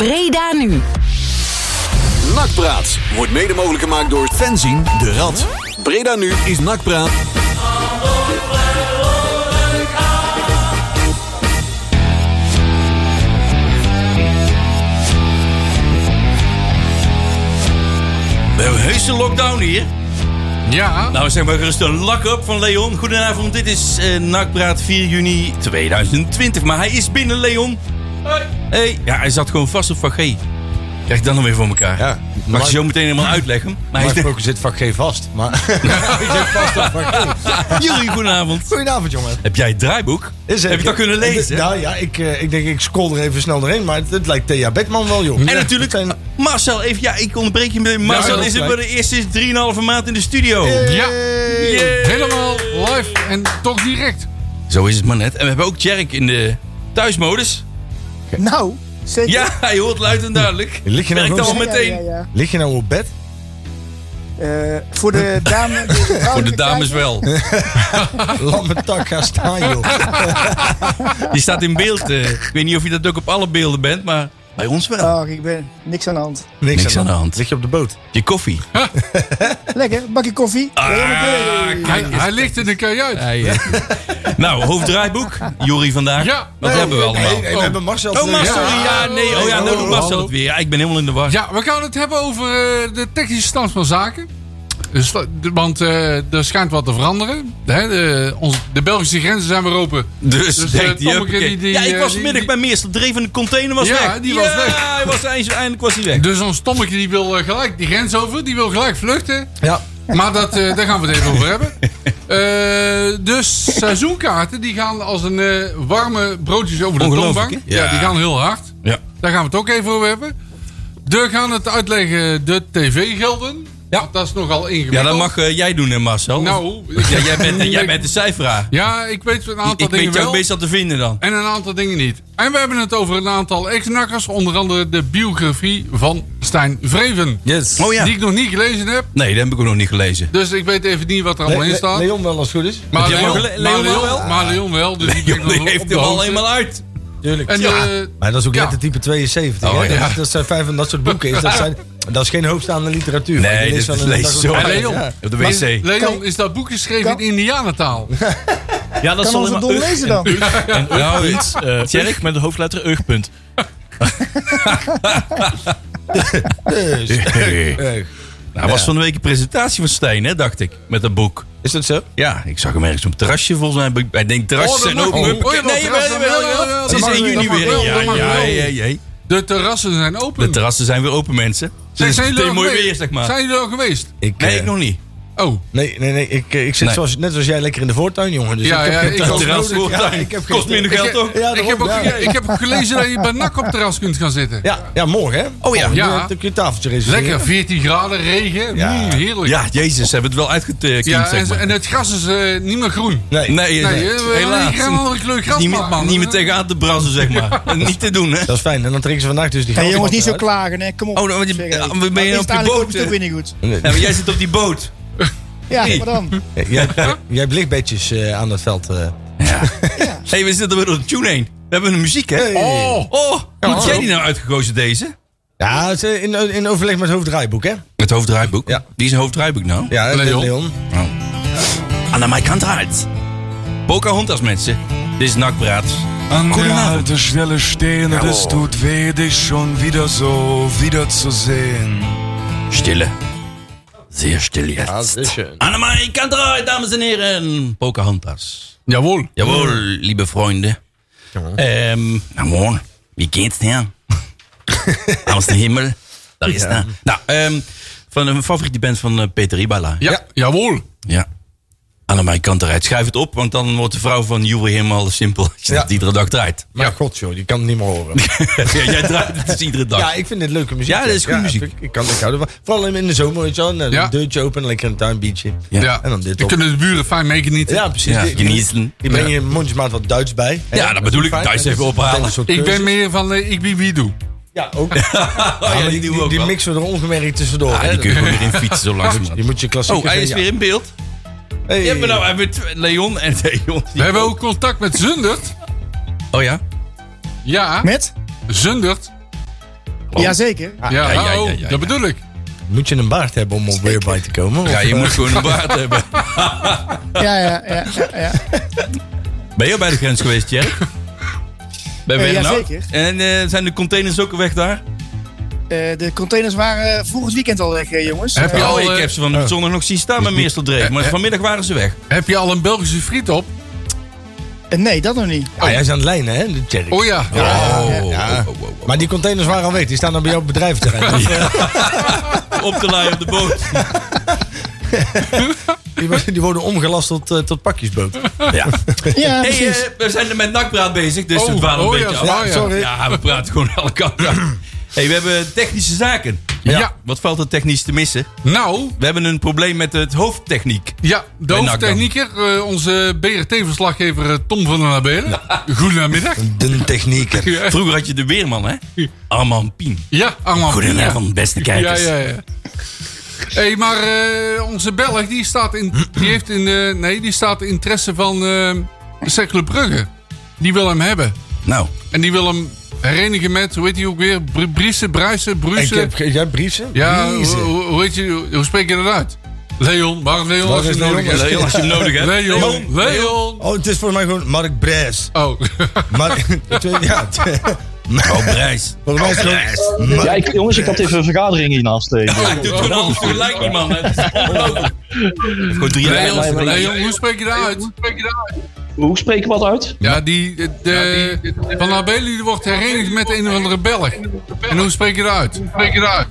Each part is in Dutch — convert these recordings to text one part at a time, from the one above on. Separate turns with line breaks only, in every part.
Breda nu.
Nakpraat wordt mede mogelijk gemaakt door Fenzin de Rad. Breda nu is Nakpraat.
We hebben een heuse lockdown hier.
Ja.
Nou, zeg maar gerust een lak-up van Leon. Goedenavond, dit is eh Nakpraat 4 juni 2020. Maar hij is binnen, Leon. Hoi. Hey. Ja, hij zat gewoon vast op vak G. Krijg ik dan nog weer voor elkaar.
Ja.
Mag ik
Maar-
zo meteen helemaal uitleggen. Maar hij
Mijn
is
focus zit vak G vast. Maar hij zit vast op vak G.
"Ah, Jullie, goedenavond.
Goedenavond, jongen.
Heb jij het draaiboek? Heb je dat kunnen lezen?
Nou ja, ik, eh, ik denk ik scroll er even snel doorheen. Maar het, het lijkt Thea Beckman wel, joh.
En natuurlijk,
Het zijn-
Marcel, even, ja, ik onderbreek je meteen.
Ja,
Marcel
dat
is er
is
voor de eerste 3,5 maand in de studio.
Ja.
Yay.
Helemaal live en toch direct.
Zo is het maar net. En we hebben ook Jerk in de thuismodus.
Nou, zeker.
Ja, hij hoort luid en duidelijk.
Lig je nou
Werkt
gewoon
al
zo-
meteen.
Ja, ja,
Lig je nou op bed?
ja. Eh, voor de dames.
Voor de dames wel.
Laat mijn tak gaan staan, joh.
Je staat in beeld. eh. ik weet niet of je dat ook op alle beelden bent, maar bij ons wel.
Ach, ik ben niks aan de hand.
Niks,
aan de hand.
Lig je op de boot?
Je koffie.
Lekker, bakje koffie.
Ah,
Hij, hij ligt in de kajuit.
Hij, eh. nou, hoofddraaiboek. Jori vandaag.
Ja.
Wat
Nee,
hebben we allemaal?
Nee, nee, we hebben Marcel.
Oh, maar
terug.
sorry. Ja, nee. Oh ja, nou doet Marcel het weer. Ja, ik ben helemaal in de war.
Ja, we gaan het hebben over eh, de technische stand van zaken. De sta- de- Want eh, er schijnt wat te veranderen. Hè, de, ons- de Belgische grenzen zijn weer open.
Dus,
Dus, eh,
denkt hij,
Tommeke,
huppakee.
die- die,
Ja, ik
eh,
was
die-
middag bij Meersel. Dreef en de container was
Ja,
weg.
die was weg.
Ja, hij was eind- eindelijk was hij weg.
Dus ons Tommeke die wil eh, gelijk die grens over. Die wil gelijk vluchten.
Ja.
Maar dat, eh, daar gaan we het even over hebben. Eh, dus seizoenkaarten die gaan als een eh, warme broodjes over de
Ongelooflijk,
toonbank.
hè?
Ja.
Ja.
die gaan heel hard.
Ja.
Daar gaan we het ook even over hebben. De gaan het uitleggen, de tv-gelden.
Ja.
Want Dat is nogal ingewikkeld.
Ja, dat mag eh, jij doen, hè, Marcel.
Nou, ik-
Ja, jij bent, eh, jij bent de cijferaar.
Ja, ik weet een aantal
ik
dingen
weet jou
wel.
meestal te vinden dan.
En een aantal dingen niet. En we hebben het over een aantal ex-nakkers. Onder andere de biografie van Stijn Vreven.
Yes.
Oh ja.
Die ik nog niet gelezen heb.
Nee, dat heb ik ook nog niet gelezen.
Dus ik weet even niet wat er
Le-
allemaal in
Le-
staat.
Leon wel als het goed is.
Maar
Heb jij
Leon,
hem al gele-
maar
Leon
Leon,
wel?
maar Leon wel. Dus die ben ik nog
Jullie
wel
heeft
op de
hem al
hoogte.
helemaal uit.
Tuurlijk.
En,
ja.
eh,
Maar dat is ook
ja.
net de type 72.
Oh,
hè?
ja.
Dat, dat zijn vijf van dat soort boeken. Is, dat, zijn, dat is geen hoogstaande literatuur.
Nee,
Maar je
dit
leest wel
is
een-
lees
dat is
zo
ook-
En
uit.
Leon.
Ja, Op de wc.
Leon, is dat boek geschreven in
Kan-
Indianentaal?
Ja, dat
Kan
zal
ons het
helemaal...
dom lezen dan?
Nou, iets.
Eh, Tjerk met de hoofdletter Eugpunt.
Eh,
Nou, was van de week een presentatie van Stijn, hè, dacht ik. Met dat boek.
Is dat zo?
Ja, ik zag hem ergens op het terrasje volgens mij. Ik- Ik denk terrasjes
Oh, dat
zijn
mag
open.
wel.
Huppakee.
Oh, ja, dat
Nee,
terras
wel,
wel,
wel,
ja, ja,
wel. Het
dat
is
mag
1
wel,
juni
dat mag
weer.
wel,
Ja,
dat mag
ja,
wel.
ja, ja.
De terrassen zijn
De
open.
terrassen zijn weer open, mensen. Dus
zijn,
het is
zijn jullie
meteen
al
mooi
geweest?
weer, zeg maar.
Zijn jullie al geweest?
Ik,
Nee,
eh,
ik nog niet.
Oh,
Nee, nee, nee. Ik, eh, ik zit
Nee.
Zoals, net als jij lekker in de voortuin, jongen. Dus
Ja,
ik heb
ja,
geen
ik
terras
ook.
nodig.
Terras,
Ja,
voortuin.
ik heb geen
Kost minder
ik,
geld
heb-
ook.
Ja,
ik, heb ook,
daarom, ja.
ik heb ook gelezen dat je bij NAC op het terras kunt gaan zitten.
Ja, ja, morgen, hè?
Oh ja.
Ja.
Dan heb ik je tafeltje reserveren.
Lekker, 14 graden, regen.
Ja.
Mm, heerlijk.
Ja, Jezus, ze hebben het wel uitgetekend,
Ja,
zeg
en,
maar.
en het gras is eh, niet meer groen.
Nee,
Nee,
Nee,
nee,
eh, we-
helaas.
Ik ga een andere kleur gras
Niet meer-
maken, man.
Niet meer tegenaan te brassen, zeg maar. Niet te doen, hè.
dat is fijn. En dan trekken ze vandaag dus die
Hey,
grote
jongens, niet zo
mat eruit.
klagen, hè? Kom op.
Oh, nou, want je-
Zeg, hey.
ja, we- ben je
Maar
op je
uiteindelijk
boot,
wordt het
eh?
ook weer niet goed.
Ja, maar jij zit op die boot.
Ja, maar dan.
Eh, Jij, jij hebt lichtbedjes eh, aan dat veld. eh.
Hé, we zitten weer door de tune heen. We hebben een muziek, hè?
Oh,
Oh, hoe had jij die nou uitgekozen, deze?
Ja, het is eh, in, in overleg met hoofddraaiboek, hè?
Het hoofddraaiboek.
Ja.
Die is een hoofddraaiboek nou.
Ja, eh,
Leon.
Leon.
Aan de mijn kant uit. Pocahontas, mensen. Dit is Nakpraat.
An der
Abend.
Haltestelle stehen und es tut weh, dich schon wieder so wiederzusehen.
Stille. Zeer stil jetzt. Aan de mijn kant uit, dames en heren. Pocahontas.
jawohl.
Jawohl, liebe Freunde. Ähm, na moin, wie geht's dir? Aus dem Himmel, da ist er. Nou, ehm, van een favoriete band van eh, Peter Ibala.
Ja, jawohl.
Ja. Aan mijn kant eruit. Schuif het op, want dan wordt de vrouw van Jury helemaal simpel. Als je
Ja.
dat iedere dag draait.
Maar god, joh, die kan het niet meer horen.
Ja, jij draait het dus iedere dag.
Ja, ik vind dit leuke muziek.
Ja, dit is goede muziek.
Ik, ik kan, ik hou ervan. Vooral in de zomer, weet je wel. Nou,
Ja.
Een deurtje open, lekker een tuinbiertje.
Ja.
Ja.
En dan dit op.
kunnen de buren fijn meegenieten.
Ja, precies.
Ja,
Die- Oh,
genieten.
Die breng je mondjesmaat wat Duits bij. hè?
Ja, dat bedoel ik.
is fijn.
Duits
Dat is-
even ophalen.
dat is een soort
Ik ben
cursus.
meer van eh, ik wie wie doe.
Ja, ook.
Oh, ja,
Maar
die, doen we
die, die,
ook
die
wel.
mixen we er ongemerkt tussendoor.
Ah,
hè?
die kun je gewoon weer in fietsen zo langzamerhand.
Je moet je
Oh,
klassiekers...
hij is
ja.
weer in beeld.
Hey.
Ja, maar nou hebben we tw- Leon en Leon.
We hebben ook contact met Zundert.
Oh ja?
Ja,
Met?
Zundert.
plan.
Jazeker.
Ah,
ja, ja, ja,
oh,
ja, ja.
dat bedoel ik.
Moet je een baard hebben om op Weerby te komen? Of,
Ja, je
eh,
moet gewoon een baard hebben.
Ja, ja, ja. ja, ja.
Ben je al bij de grens geweest, Jerk? Bij
Eh,
Wernhout?
jazeker.
En eh, zijn de containers ook weg daar?
Eh, de containers waren eh, volgend weekend al weg, eh, jongens.
Heb je
Eh,
al-
Oh,
eh,
ik heb ze van de zondag nog zien staan bij Meester Dreef. Maar
eh,
vanmiddag waren ze weg.
Heb je al een Belgische friet op?
eh, nee, dat nog niet.
Ah, jij is aan het lijnen, hè? De Jerry.
Oh ja.
Oh,
ja.
oh, oh, oh.
Maar die containers waren al weg. Die staan dan bij jouw eh, bedrijventerrein.
op te laaien op de boot.
Die, wo- die worden omgelast tot, eh, tot pakjesboot.
Ja.
Ja,
Hey,
precies.
eh, we zijn met nakpraat bezig, dus
Oh,
het waren een
oh,
beetje
ja,
af.
ja,
sorry.
Ja, we praten gewoon alle kanten. uit. Hey, we hebben technische zaken.
Ja.
Wat valt er technisch te missen?
Nou,
We hebben een probleem met het hoofdtechniek.
ja, de
NAC dan.
hoofdtechnieker, eh, onze BRT-verslaggever eh, Tom van der Nabelen. Goedemiddag.
De technieker.
Vroeger had je de weerman, hè? Arman Pien.
Oh, Ja, Armand.
Goedenavond, beste kijkers.
Ja, ja, ja. hey, maar eh, onze Belg, die staat in, die heeft in, eh, nee, die staat in interesse van eh Cercle Brugge. Die wil hem hebben.
Nou,
En die wil hem herenigen met, hoe heet die ook weer? Br Briesen, Bruisen,
Ik
Bruisen.
heb, ge- jij briezen?
Ja, oh, hoe,
Briezen.
hoe- hoe heet je, hoe spreek je dat uit? Leon, maar Leon
Waar
als je
is
het nodig
Leon?
hebt.
Leon, als je hem nodig hebt.
Leon, Leon.
Oh, het is volgens mij gewoon Mark Bres.
Oh,
Mark, ja,
Oh, Brijs.
volgens mij is het gewoon
Ja,
Mark-
ik, jongens, ik had even een vergadering hiernaast. eh.
Ja, ik doe gewoon alles tegelijk, die man. hè. Dat is ongelooflijk. Gewoon drie
Leon,
lijnen tegelijk.
Leon, hoe spreek je dat uit? Hoe spreek je dat uit?
Hoe spreek ik wat uit?
Ja, die, eh, de, Van Abeli wordt herenigd met een of andere Belg. En hoe spreek je dat uit? Hoe spreek je dat uit?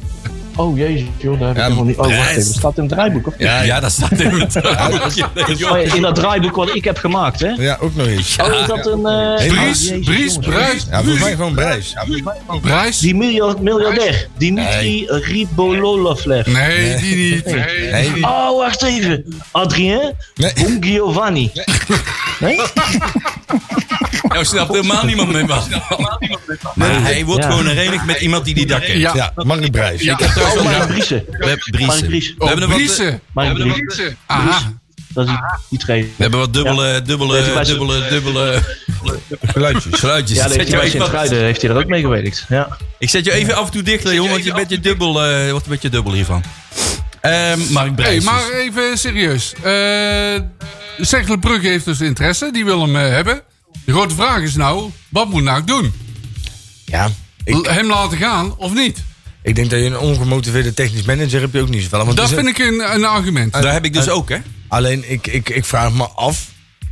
Oh jezus, joh, daar heb ik
Ja,
helemaal niet. Oh, wacht
Brijs.
even. Dat staat in het draaiboek, of niet?
Ja, ja, dat staat in het draaiboekje.
Oh, ja, in dat draaiboek wat ik heb gemaakt, hè?
Ja, ook nog eens.
Oh, is dat een. eh, oh,
Bries,
jezus,
Bries,
jongens.
Bruis,
Ja, volgens mij gewoon Bres.
Bruis?
Die miljard- miljardair, Dimitri Ribololavlev.
Nee, die niet. Nee.
Nee,
Oh, wacht even. Adrien
nee.
Giovanni. Nee?
Nou snapt helemaal niemand meer wat. Maar hij wordt
Ja.
gewoon herenigd met iemand die die dak heeft.
Ja. Oh,
Ja, Mark Bres.
Ja.
Oh, Mark Driessen.
We hebben Driessen.
Mark Driessen.
We
Oh,
hebben, wat, eh,
Briesen.
Mark Driessen.
Briesen. Aha.
Dat is iets geven.
we hebben wat dubbele,
Deze
dubbele,
was-
dubbele, dubbele
Geluidjes.
geluidjes.
Ja,
Ik zet
deze
jou
was
even
in
wat-
Fruiden heeft hij er ook mee gewerkt. Ja.
ik zet je even af en toe dicht, Leon, want je bent je dubbel, eh, wordt een beetje dubbel hiervan. Ehm Mark
Hey,
Brijs.
maar dus. even serieus. Eh Cercle Brugge heeft dus interesse. Die wil hem eh, hebben. De grote vraag is nou, wat moet nou doen?
Ja. Ik,
L- Hem laten gaan of niet?
ik denk dat je een ongemotiveerde technisch manager hebt je ook niet zoveel. aan, Want
Dat
er
vind
zit-
ik een, een argument.
Daar heb ik dus ook, hè?
Alleen, ik, ik, ik vraag me af.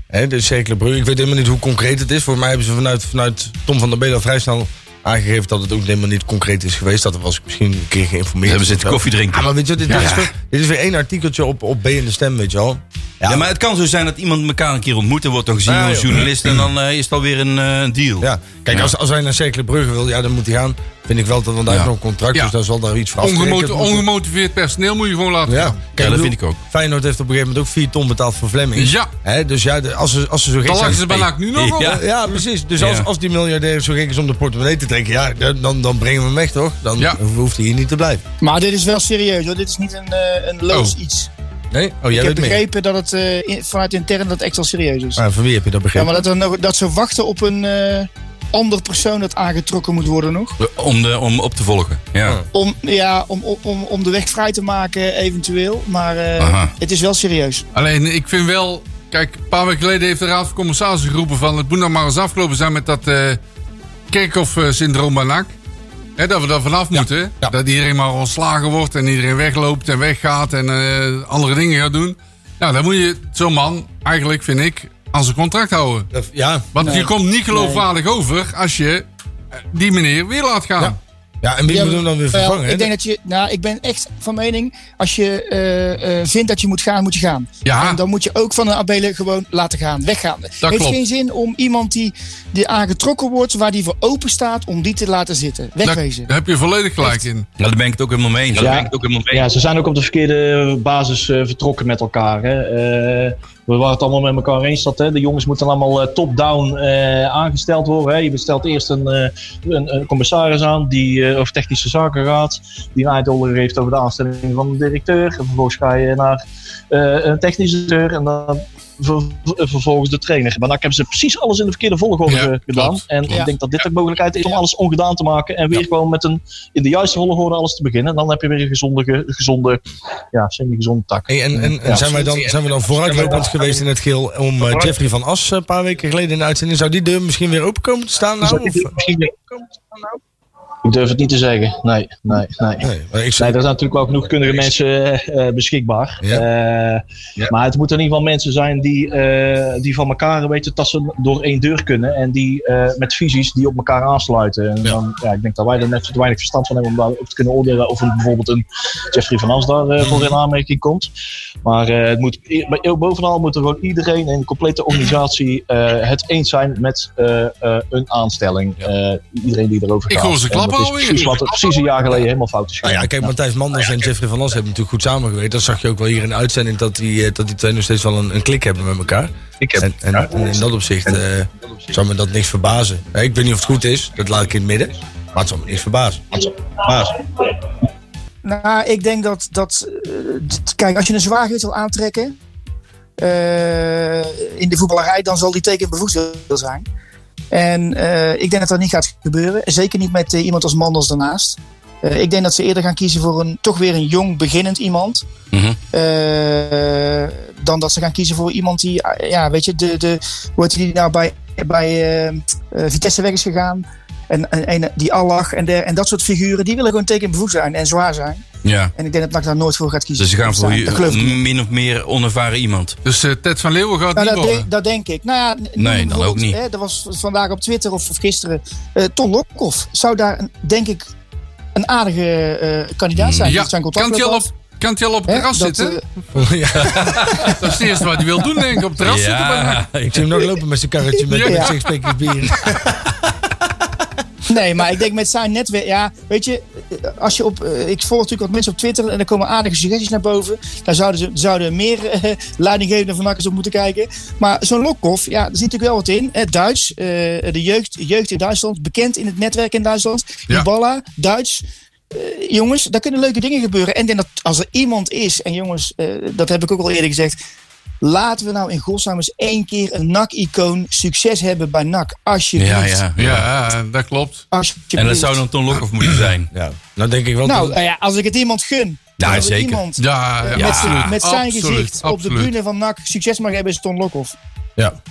Hè, de Cercle Brugge, ik weet helemaal niet hoe concreet het is. Voor mij hebben ze vanuit, vanuit Tom van der Beel al vrij snel aangegeven dat het ook helemaal niet concreet is geweest. Dat was ik misschien een keer geïnformeerd.
Hebben ze zitten koffie drinken.
Ja, maar weet je, wat, dit, dit, is weer, dit is weer één artikeltje op, op B in de stem, weet je wel.
Ja, maar het kan zo zijn dat iemand elkaar een keer ontmoet en wordt dan gezien
Ja,
door een
joh.
journalist en dan eh, is het alweer een eh, deal.
Ja, kijk, Als, als hij naar Cercle Brugge wil, ja, dan moet hij gaan. Vind ik wel dat, want hij
Ja.
heeft nog een contract,
Ja.
dus daar zal daar iets voor
Ongemot-
afgerekend moeten-
ongemotiveerd personeel moet je gewoon laten
Ja,
gaan.
kijk,
dat
bedoel,
vind ik ook.
Feyenoord heeft op een gegeven moment ook 4 ton betaald voor Flemming.
Ja.
Hè, dus ja, de- als ze, als ze zo gek
Dan lachen
zijn...
ze bij NAC nu nog op.
Ja.
Ja, ja, precies. Dus
Ja.
als, als die miljardair zo gek is om de portemonnee te trekken, ja, dan- dan, dan brengen we hem weg, toch? Dan
Ja.
hoeft hij hier niet te blijven.
Maar dit is wel serieus hoor. Dit is niet een, eh, een loos
Oh.
iets.
Nee? Oh,
Ik
jij
heb
weet meer.
begrepen dat het eh, in- vanuit intern dat echt wel serieus is.
Ah, van wie heb je dat
Ja,
begrepen?
maar dat, er nog, dat ze wachten op een eh, ander persoon dat aangetrokken moet worden nog.
Om, de, om op te volgen. Ja.
Ja.
Om, ja, om, om- om, om de weg vrij te maken eventueel. Maar eh,
Aha.
het is wel serieus.
Alleen, ik vind wel... Kijk, een paar weken geleden heeft de Raad van Commissarissen geroepen van... het moet nou maar eens afgelopen zijn met dat eh kerkhoff-syndroom bij NAC. Hè, dat we daar vanaf moeten.
ja.
Dat iedereen maar ontslagen wordt en iedereen wegloopt en weggaat... en eh, andere dingen gaat doen. Nou, dan moet je zo'n man, eigenlijk vind ik, aan zijn contract houden.
Dat- ja.
Want
Nee.
je komt niet geloofwaardig over als je eh, die meneer weer laat gaan.
Ja. ja, en wie
Ja,
moet hem dan weer
maar-
vervangen?
wel,
hè?
ik denk dat je, nou, ik ben echt van mening, als je eh, eh, vindt dat je moet gaan, moet je gaan.
Ja.
En dan moet je ook van de abelen gewoon laten gaan, weggaan. Het heeft
klopt.
geen zin om iemand die, die aangetrokken wordt, waar die voor open staat, om die te laten zitten.
Daar,
Wegwezen.
daar heb je volledig gelijk in.
Nou, daar ben ik het ook helemaal mee eens.
Ja. Ja, ze zijn ook op de verkeerde basis eh, vertrokken met elkaar. Hè. Eh, we waren het allemaal met elkaar eens dat hè, de jongens moeten allemaal eh, top-down eh, aangesteld worden. Hè. Je bestelt eerst een, eh, een, een commissaris aan, die, eh, of technische zakenraad, die een eindolder heeft over de aanstelling van de directeur. En vervolgens ga je naar eh, een technische directeur en dan ver- ver- vervolgens de trainer. Maar nou, ik heb ze precies alles in de verkeerde volgorde
Ja,
eh, gedaan.
klopt,
en
klopt.
ik denk dat dit de mogelijkheid is om alles ongedaan te maken. En weer gewoon met een, in de juiste volgorde alles te beginnen. En dan heb je weer een gezonde, ge- gezonde ja, semi-gezonde tak.
Hey, en en, en
Ja,
zijn, wij dan, zijn we dan vooruitlopend geweest in het geel om eh, Jeffrey van As eh, een paar weken geleden in de uitzending? Zou die deur misschien weer open komen te staan? Nou,
Zou
of,
die deur Dus misschien weer Ik durf het niet te zeggen. Nee, nee, nee.
nee, maar ik
Nee,
zou,
er zijn natuurlijk wel genoeg kundige mensen eh, eh, beschikbaar.
Ja.
Eh, Maar het moeten in ieder geval mensen zijn die, eh, die van elkaar weten tassen door één deur kunnen. En die eh, met visies die op elkaar aansluiten. En Dan, ja, ik denk dat wij er net te weinig verstand van hebben om daarop te kunnen oordelen. Of een, bijvoorbeeld een Jeffrey van As daar eh, voor in aanmerking komt. Maar eh, het moet, i- maar eer- bovenal moet er gewoon iedereen in de complete organisatie eh, het eens zijn met eh, eh, een aanstelling. Eh, iedereen die erover
Ik
gaat.
hoor ze
En dat
klappen
is
alweer.
Precies, wat er precies een jaar geleden helemaal fout is
nou ja,
gegaan.
kijk, Matthijs Manders en Jeffrey van As hebben natuurlijk goed samengewerkt. Dat zag je ook wel hier in de uitzending, dat die, eh, dat die twee nog steeds wel een, een klik hebben met elkaar. En, en, en in dat opzicht eh, zou me dat niks verbazen. Eh, ik weet niet of het goed is, dat laat ik in het midden. Maar het zou me niks verbazen.
Nou, ik denk dat. dat eh, t- kijk, als je een zwaargewicht wil aantrekken. eh, in de voetballerij, dan zal die teken bevoegd wil zijn. En eh, ik denk dat dat niet gaat gebeuren. Zeker niet met eh, iemand als Mandels daarnaast. Eh, ik denk dat ze eerder gaan kiezen voor een, toch weer een jong, beginnend iemand.
Mhm.
Eh, dan dat ze gaan kiezen voor iemand die, ah, ja, weet je, de, de, hoe heet die nou bij, bij eh, eh, Vitesse weg is gegaan. En, en, en die Allach en, der, en dat soort figuren, die willen gewoon tekenbevoegd zijn en zwaar zijn.
Ja.
En ik denk dat NAC daar nooit voor gaat kiezen.
Dus ze gaan voor
Daar geloof ik niet.
je min of meer onervaren iemand.
Dus eh, Ted van Leeuwen gaat
Nou,
niet
dat,
worden.
denk, dat denk ik. Nou ja, n- noem
dan
bijvoorbeeld,
ook niet.
Hè, er was vandaag op Twitter of, of gisteren. eh Ton Lokhoff zou daar, een- denk ik, een aardige eh, kandidaat zijn.
Ja,
Die zijn
kan
contact
hij al op, kan die al op het terras zitten?
eh,
dat is het eerste wat hij wil doen, denk ik. Op het terras zitten bij NAC.
Ja,
Ik zie hem nog lopen met zijn karretje met,
Ja.
met six packjes bier.
Nee, maar ik denk met zijn netwerk. Ja, weet je, eh, als je op. eh, ik volg natuurlijk wat mensen op Twitter en er komen aardige suggesties naar boven. Daar zouden, ze, zouden meer eh, leidinggevenden van Akkers op moeten kijken. Maar zo'n Lokhoff, ja, er zit natuurlijk wel wat in. Het Duits, eh, de jeugd, jeugd in Duitsland, bekend in het netwerk in Duitsland.
Ja.
Iballa, Duits. Eh, jongens, daar kunnen leuke dingen gebeuren. En ik denk dat als er iemand is, en jongens, eh, dat heb ik ook al eerder gezegd. Laten we nou in godsnaam eens één keer een NAC-icoon succes hebben bij NAC. Alsjeblieft.
ja, ja.
Ja, dat klopt.
Alsjeblieft.
En dat zou dan Ton Lokhoff moeten zijn.
Ja, nou denk ik wel
Nou,
dat-
nou ja, als ik het iemand gun.
Ja,
als ik
zeker.
Iemand
Ja, ja,
met, zijn- met zijn
absoluut,
gezicht op de
absoluut.
bühne van NAC succes mag hebben, is Ton Lokhoff.
Ja.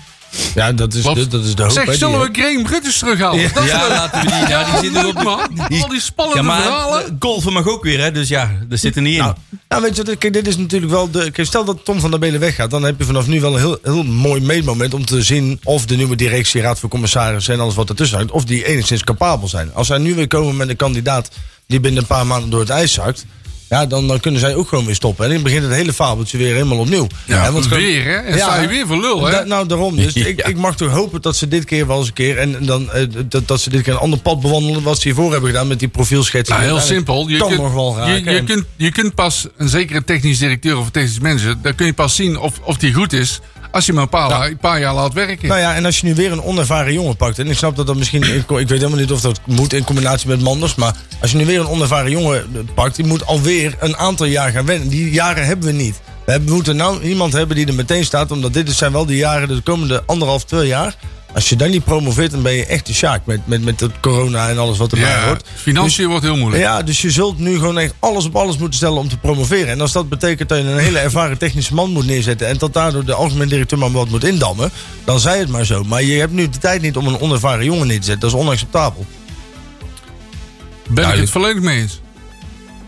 Ja, dat is,
Klopt.
dat, dat is de hoop. hè,
Zeg,
die-
zullen we Graham Rutters terughalen?
Ja,
Dat is leuk.
laten we die. Ja, die zitten
Leuk,
op
man. Al die spannende
Ja, maar
verhalen.
golven mag ook weer, hè? Dus ja, daar zit er niet in.
Nou, weet je, wat, kijk, dit is natuurlijk wel de. Kijk, stel dat Tom van der Belen weggaat, dan heb je vanaf nu wel een heel, heel mooi meetmoment om te zien of de nieuwe directie, raad van commissarissen en alles wat ertussen hangt, of die enigszins capabel zijn. Als zij nu weer komen met een kandidaat die binnen een paar maanden door het ijs zakt, ja, dan, dan kunnen zij ook gewoon weer stoppen. En dan begint het hele fabeltje weer helemaal opnieuw.
Ja,
Hè, want gewoon-
weer, hè? En sta je weer voor lul, hè?
Da- nou, daarom. Dus
Ja.
ik, ik mag toch hopen dat ze dit keer wel eens een keer. En dan, eh, dat, dat ze dit keer een ander pad bewandelen. wat ze hiervoor hebben gedaan met die profielschets.
Nou, heel
Uiteindelijk
simpel. Je
kan
kunt,
nog wel
je,
raken.
je, kunt, je kunt pas een zekere technisch directeur of een technisch manager. daar kun je pas zien of, of die goed is. als je hem een paar, een paar jaar laat werken.
Nou ja, en als je nu weer een onervaren jongen pakt. En ik snap dat dat misschien. Ik, ik weet helemaal niet of dat moet in combinatie met Manders. Maar als je nu weer een onervaren jongen eh, pakt. Die moet alweer een aantal jaar gaan wennen. Die jaren hebben we niet. We hebben- moeten nou iemand hebben die er meteen staat. Omdat dit zijn wel de jaren, de komende anderhalf, twee jaar. Als je dan niet promoveert, dan ben je echt de sjaak. Met, met, met dat corona en alles wat erbij
ja,
hoort.
financiën wordt heel moeilijk.
Ja, dus je zult nu gewoon echt alles op alles moeten stellen om te promoveren. En als dat betekent dat je een hele ervaren technische man moet neerzetten... en dat daardoor de algemeen directeur maar wat moet indammen... dan zij het maar zo. Maar je hebt nu de tijd niet om een onervaren jongen neer te zetten. Dat is onacceptabel.
ben ik het
duidelijk.
volledig mee eens.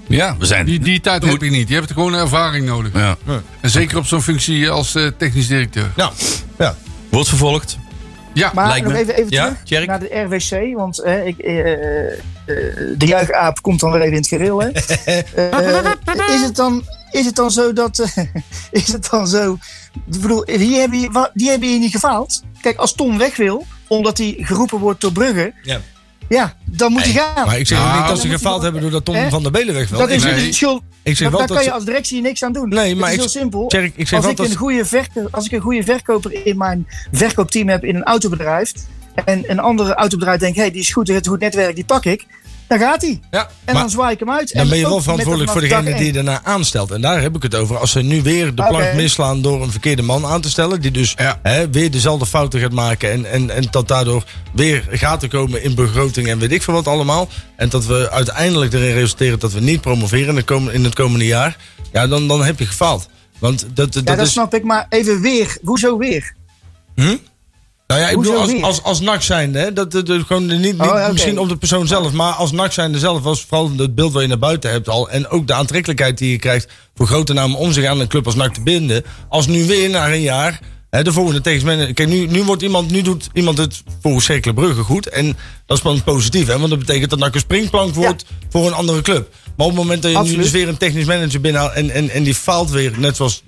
Ja, we zijn.
Die, die tijd heb je niet. Je hebt gewoon ervaring nodig.
Ja.
En zeker op zo'n functie als eh, technisch directeur.
Nou.
Ja, ja.
Wordt vervolgd.
Ja,
Maar
Lijkt
nog
me.
even, even
Ja,
terug
Tjerk?
naar de RWC. Want eh, ik, eh, eh, eh, de juichaap komt dan weer even in het gereel. Hè. Eh, is, het dan, is het dan zo dat... eh, is het dan zo... Ik bedoel, die hebben, hier- wa- die hebben hier niet gefaald. Kijk, als Tom weg wil, omdat hij geroepen wordt door Brugge...
Ja.
ja, dan moet hij gaan.
Maar ik zeg
Nou,
niet dat ze
dan moet
gefaald
je-
hebben doordat Tom
Hè?
van der Belen weg wil.
dat is
ik,
nee.
jullie schuld.
ik zeg wel
Maar daar
dat...
kan je
ze-
als directie niks aan doen.
Nee, maar
het is
ik-
heel simpel.
Tjerk, ik zeg
als,
wel
ik
dat
een
ze-
goede verko- als ik een goede verkoper in mijn verkoopteam heb in een autobedrijf. En een andere autobedrijf denkt, hé, hey, die is goed, het goed netwerk, die pak ik. Daar gaat hij.
Ja,
En
maar
dan zwaai ik hem uit.
dan
En
ben je wel
ook
verantwoordelijk
met
voor
hem
degene
vanaf
die je
dag
daarna aanstelt. En daar heb ik het over. Als ze nu weer de plank
Oké.
misslaan door een verkeerde man aan te stellen. Die dus
Ja.
hè, weer dezelfde fouten gaat maken. En, en, en dat daardoor weer gaten komen in begroting en weet ik veel wat allemaal. En dat we uiteindelijk erin resulteren dat we niet promoveren in het komende, in het komende jaar. Ja, dan, dan heb je gefaald. Want dat, dat,
één. Ja, dat
is,
snap ik. Maar even weer. Hoezo weer?
Nou ja, ik
Hoezo
bedoel, als,
weer?
als, als NAC zijnde, hè, dat, dat, dat gewoon niet, niet
Oh, ja, oké.
misschien op de persoon zelf, maar als NAC zijnde zelf was vooral het beeld wat je naar buiten hebt al en ook de aantrekkelijkheid die je krijgt voor grote namen om zich aan een club als NAC te binden. Als nu weer na een jaar hè, de volgende tegenstander, kijk nu, nu wordt iemand, nu doet iemand het volgens Cercle Brugge goed en dat is wel positief, hè, want dat betekent dat NAC een springplank wordt voor een andere club. Maar op het moment dat je nu
Absoluut.
dus weer een technisch manager binnenhaalt en, en, en die faalt weer, net zoals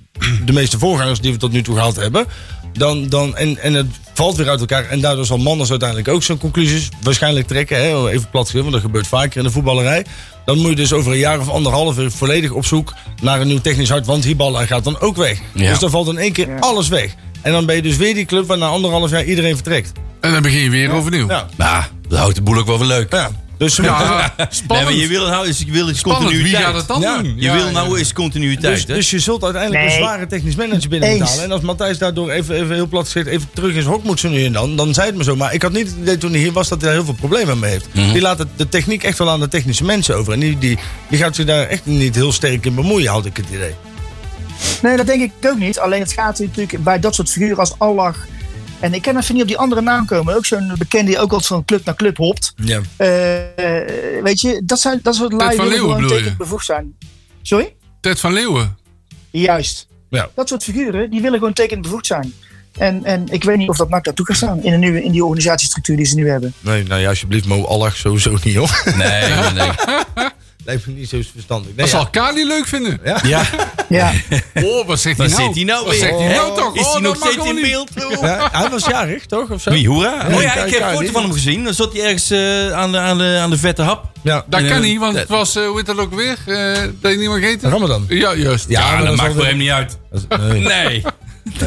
de meeste voorgangers die we tot nu toe gehaald hebben, dan, dan, en, en het valt weer uit elkaar. En daardoor zal Manders uiteindelijk ook zijn conclusies waarschijnlijk trekken. Hè? Even plat gezegd, want dat gebeurt vaker in de voetballerij. Dan moet je dus over een jaar of anderhalf weer volledig op zoek naar een nieuw technisch hart. Want Hiballa gaat dan ook weg.
Ja.
Dus dan valt in één keer alles weg. En dan ben je dus weer die club waar na anderhalf jaar iedereen vertrekt.
En dan begin je weer overnieuw.
Ja.
Nou, dat houdt de boel ook wel weer leuk.
Ja. Dus ze moeten-
Ja,
Nee, maar
spannend.
je wil nou eens, je wil eens
spannend. Wie
continuïteit.
gaat het dan
Ja,
doen?
Je wil nou eens continuïteit.
Dus,
hè?
dus je zult uiteindelijk
Nee.
een zware technisch manager binnen
Eens.
moeten halen. En als Matthijs daardoor even, even heel plat gezegd even terug in zijn hok moet zo nu en dan, dan zei het me zo. Maar ik had niet het idee toen hij hier was dat hij daar heel veel problemen mee heeft.
Mhm.
Die laat het, de techniek echt wel aan de technische mensen over. En die, die, die gaat zich daar echt niet heel sterk in bemoeien, had ik het idee.
Nee, dat denk ik ook niet. Alleen het gaat natuurlijk bij dat soort figuren als Allah. En ik ken even niet op die andere naam komen. Ook zo'n bekende die ook altijd van club naar club hopt.
Ja.
Eh, eh, weet je, dat, zijn, dat soort lui
van
die
Leeuwen
gewoon
bedoel je?
tegen bevoegd zijn. Sorry?
Ted van Leeuwen.
Juist.
Ja.
Dat soort figuren, die willen gewoon tekend bevoegd zijn. En, en ik weet niet of dat NAC daartoe gaat staan in, de nieuwe, in die organisatiestructuur die ze nu hebben.
Nee, nou ja, alsjeblieft, Mo Allah sowieso niet, hoor.
Nee, nee, nee.
Lijkt me niet zo verstandig. Nee,
Dat
ja.
zal Kali leuk vinden.
Ja,
Ja,
Oh, wat zegt hij
waar zit
nou?
hij nou
Wat
weer?
zegt hij nou toch?
Is
Oh,
hij
dat
nog
mag
steeds in
gewoon niet.
beeld?
Ja, hij was jarig, toch? Of zo?
Wie, hoera?
Nee,
oh ja,
kijk,
ik heb een
kijk,
foto
dit-
van hem gezien. Dan zat hij ergens eh, aan, de, aan, de, aan de vette hap.
Ja.
Dat
Ja.
kan niet, want het was, eh, hoe heet dat ook weer? Eh, dat je niet mag eten?
Ramadan.
Ja, juist.
Ja, maar
Ja,
dat
dat
is
maakt
wel
voor
weer-
hem niet uit.
Nee, Oh,
Nee.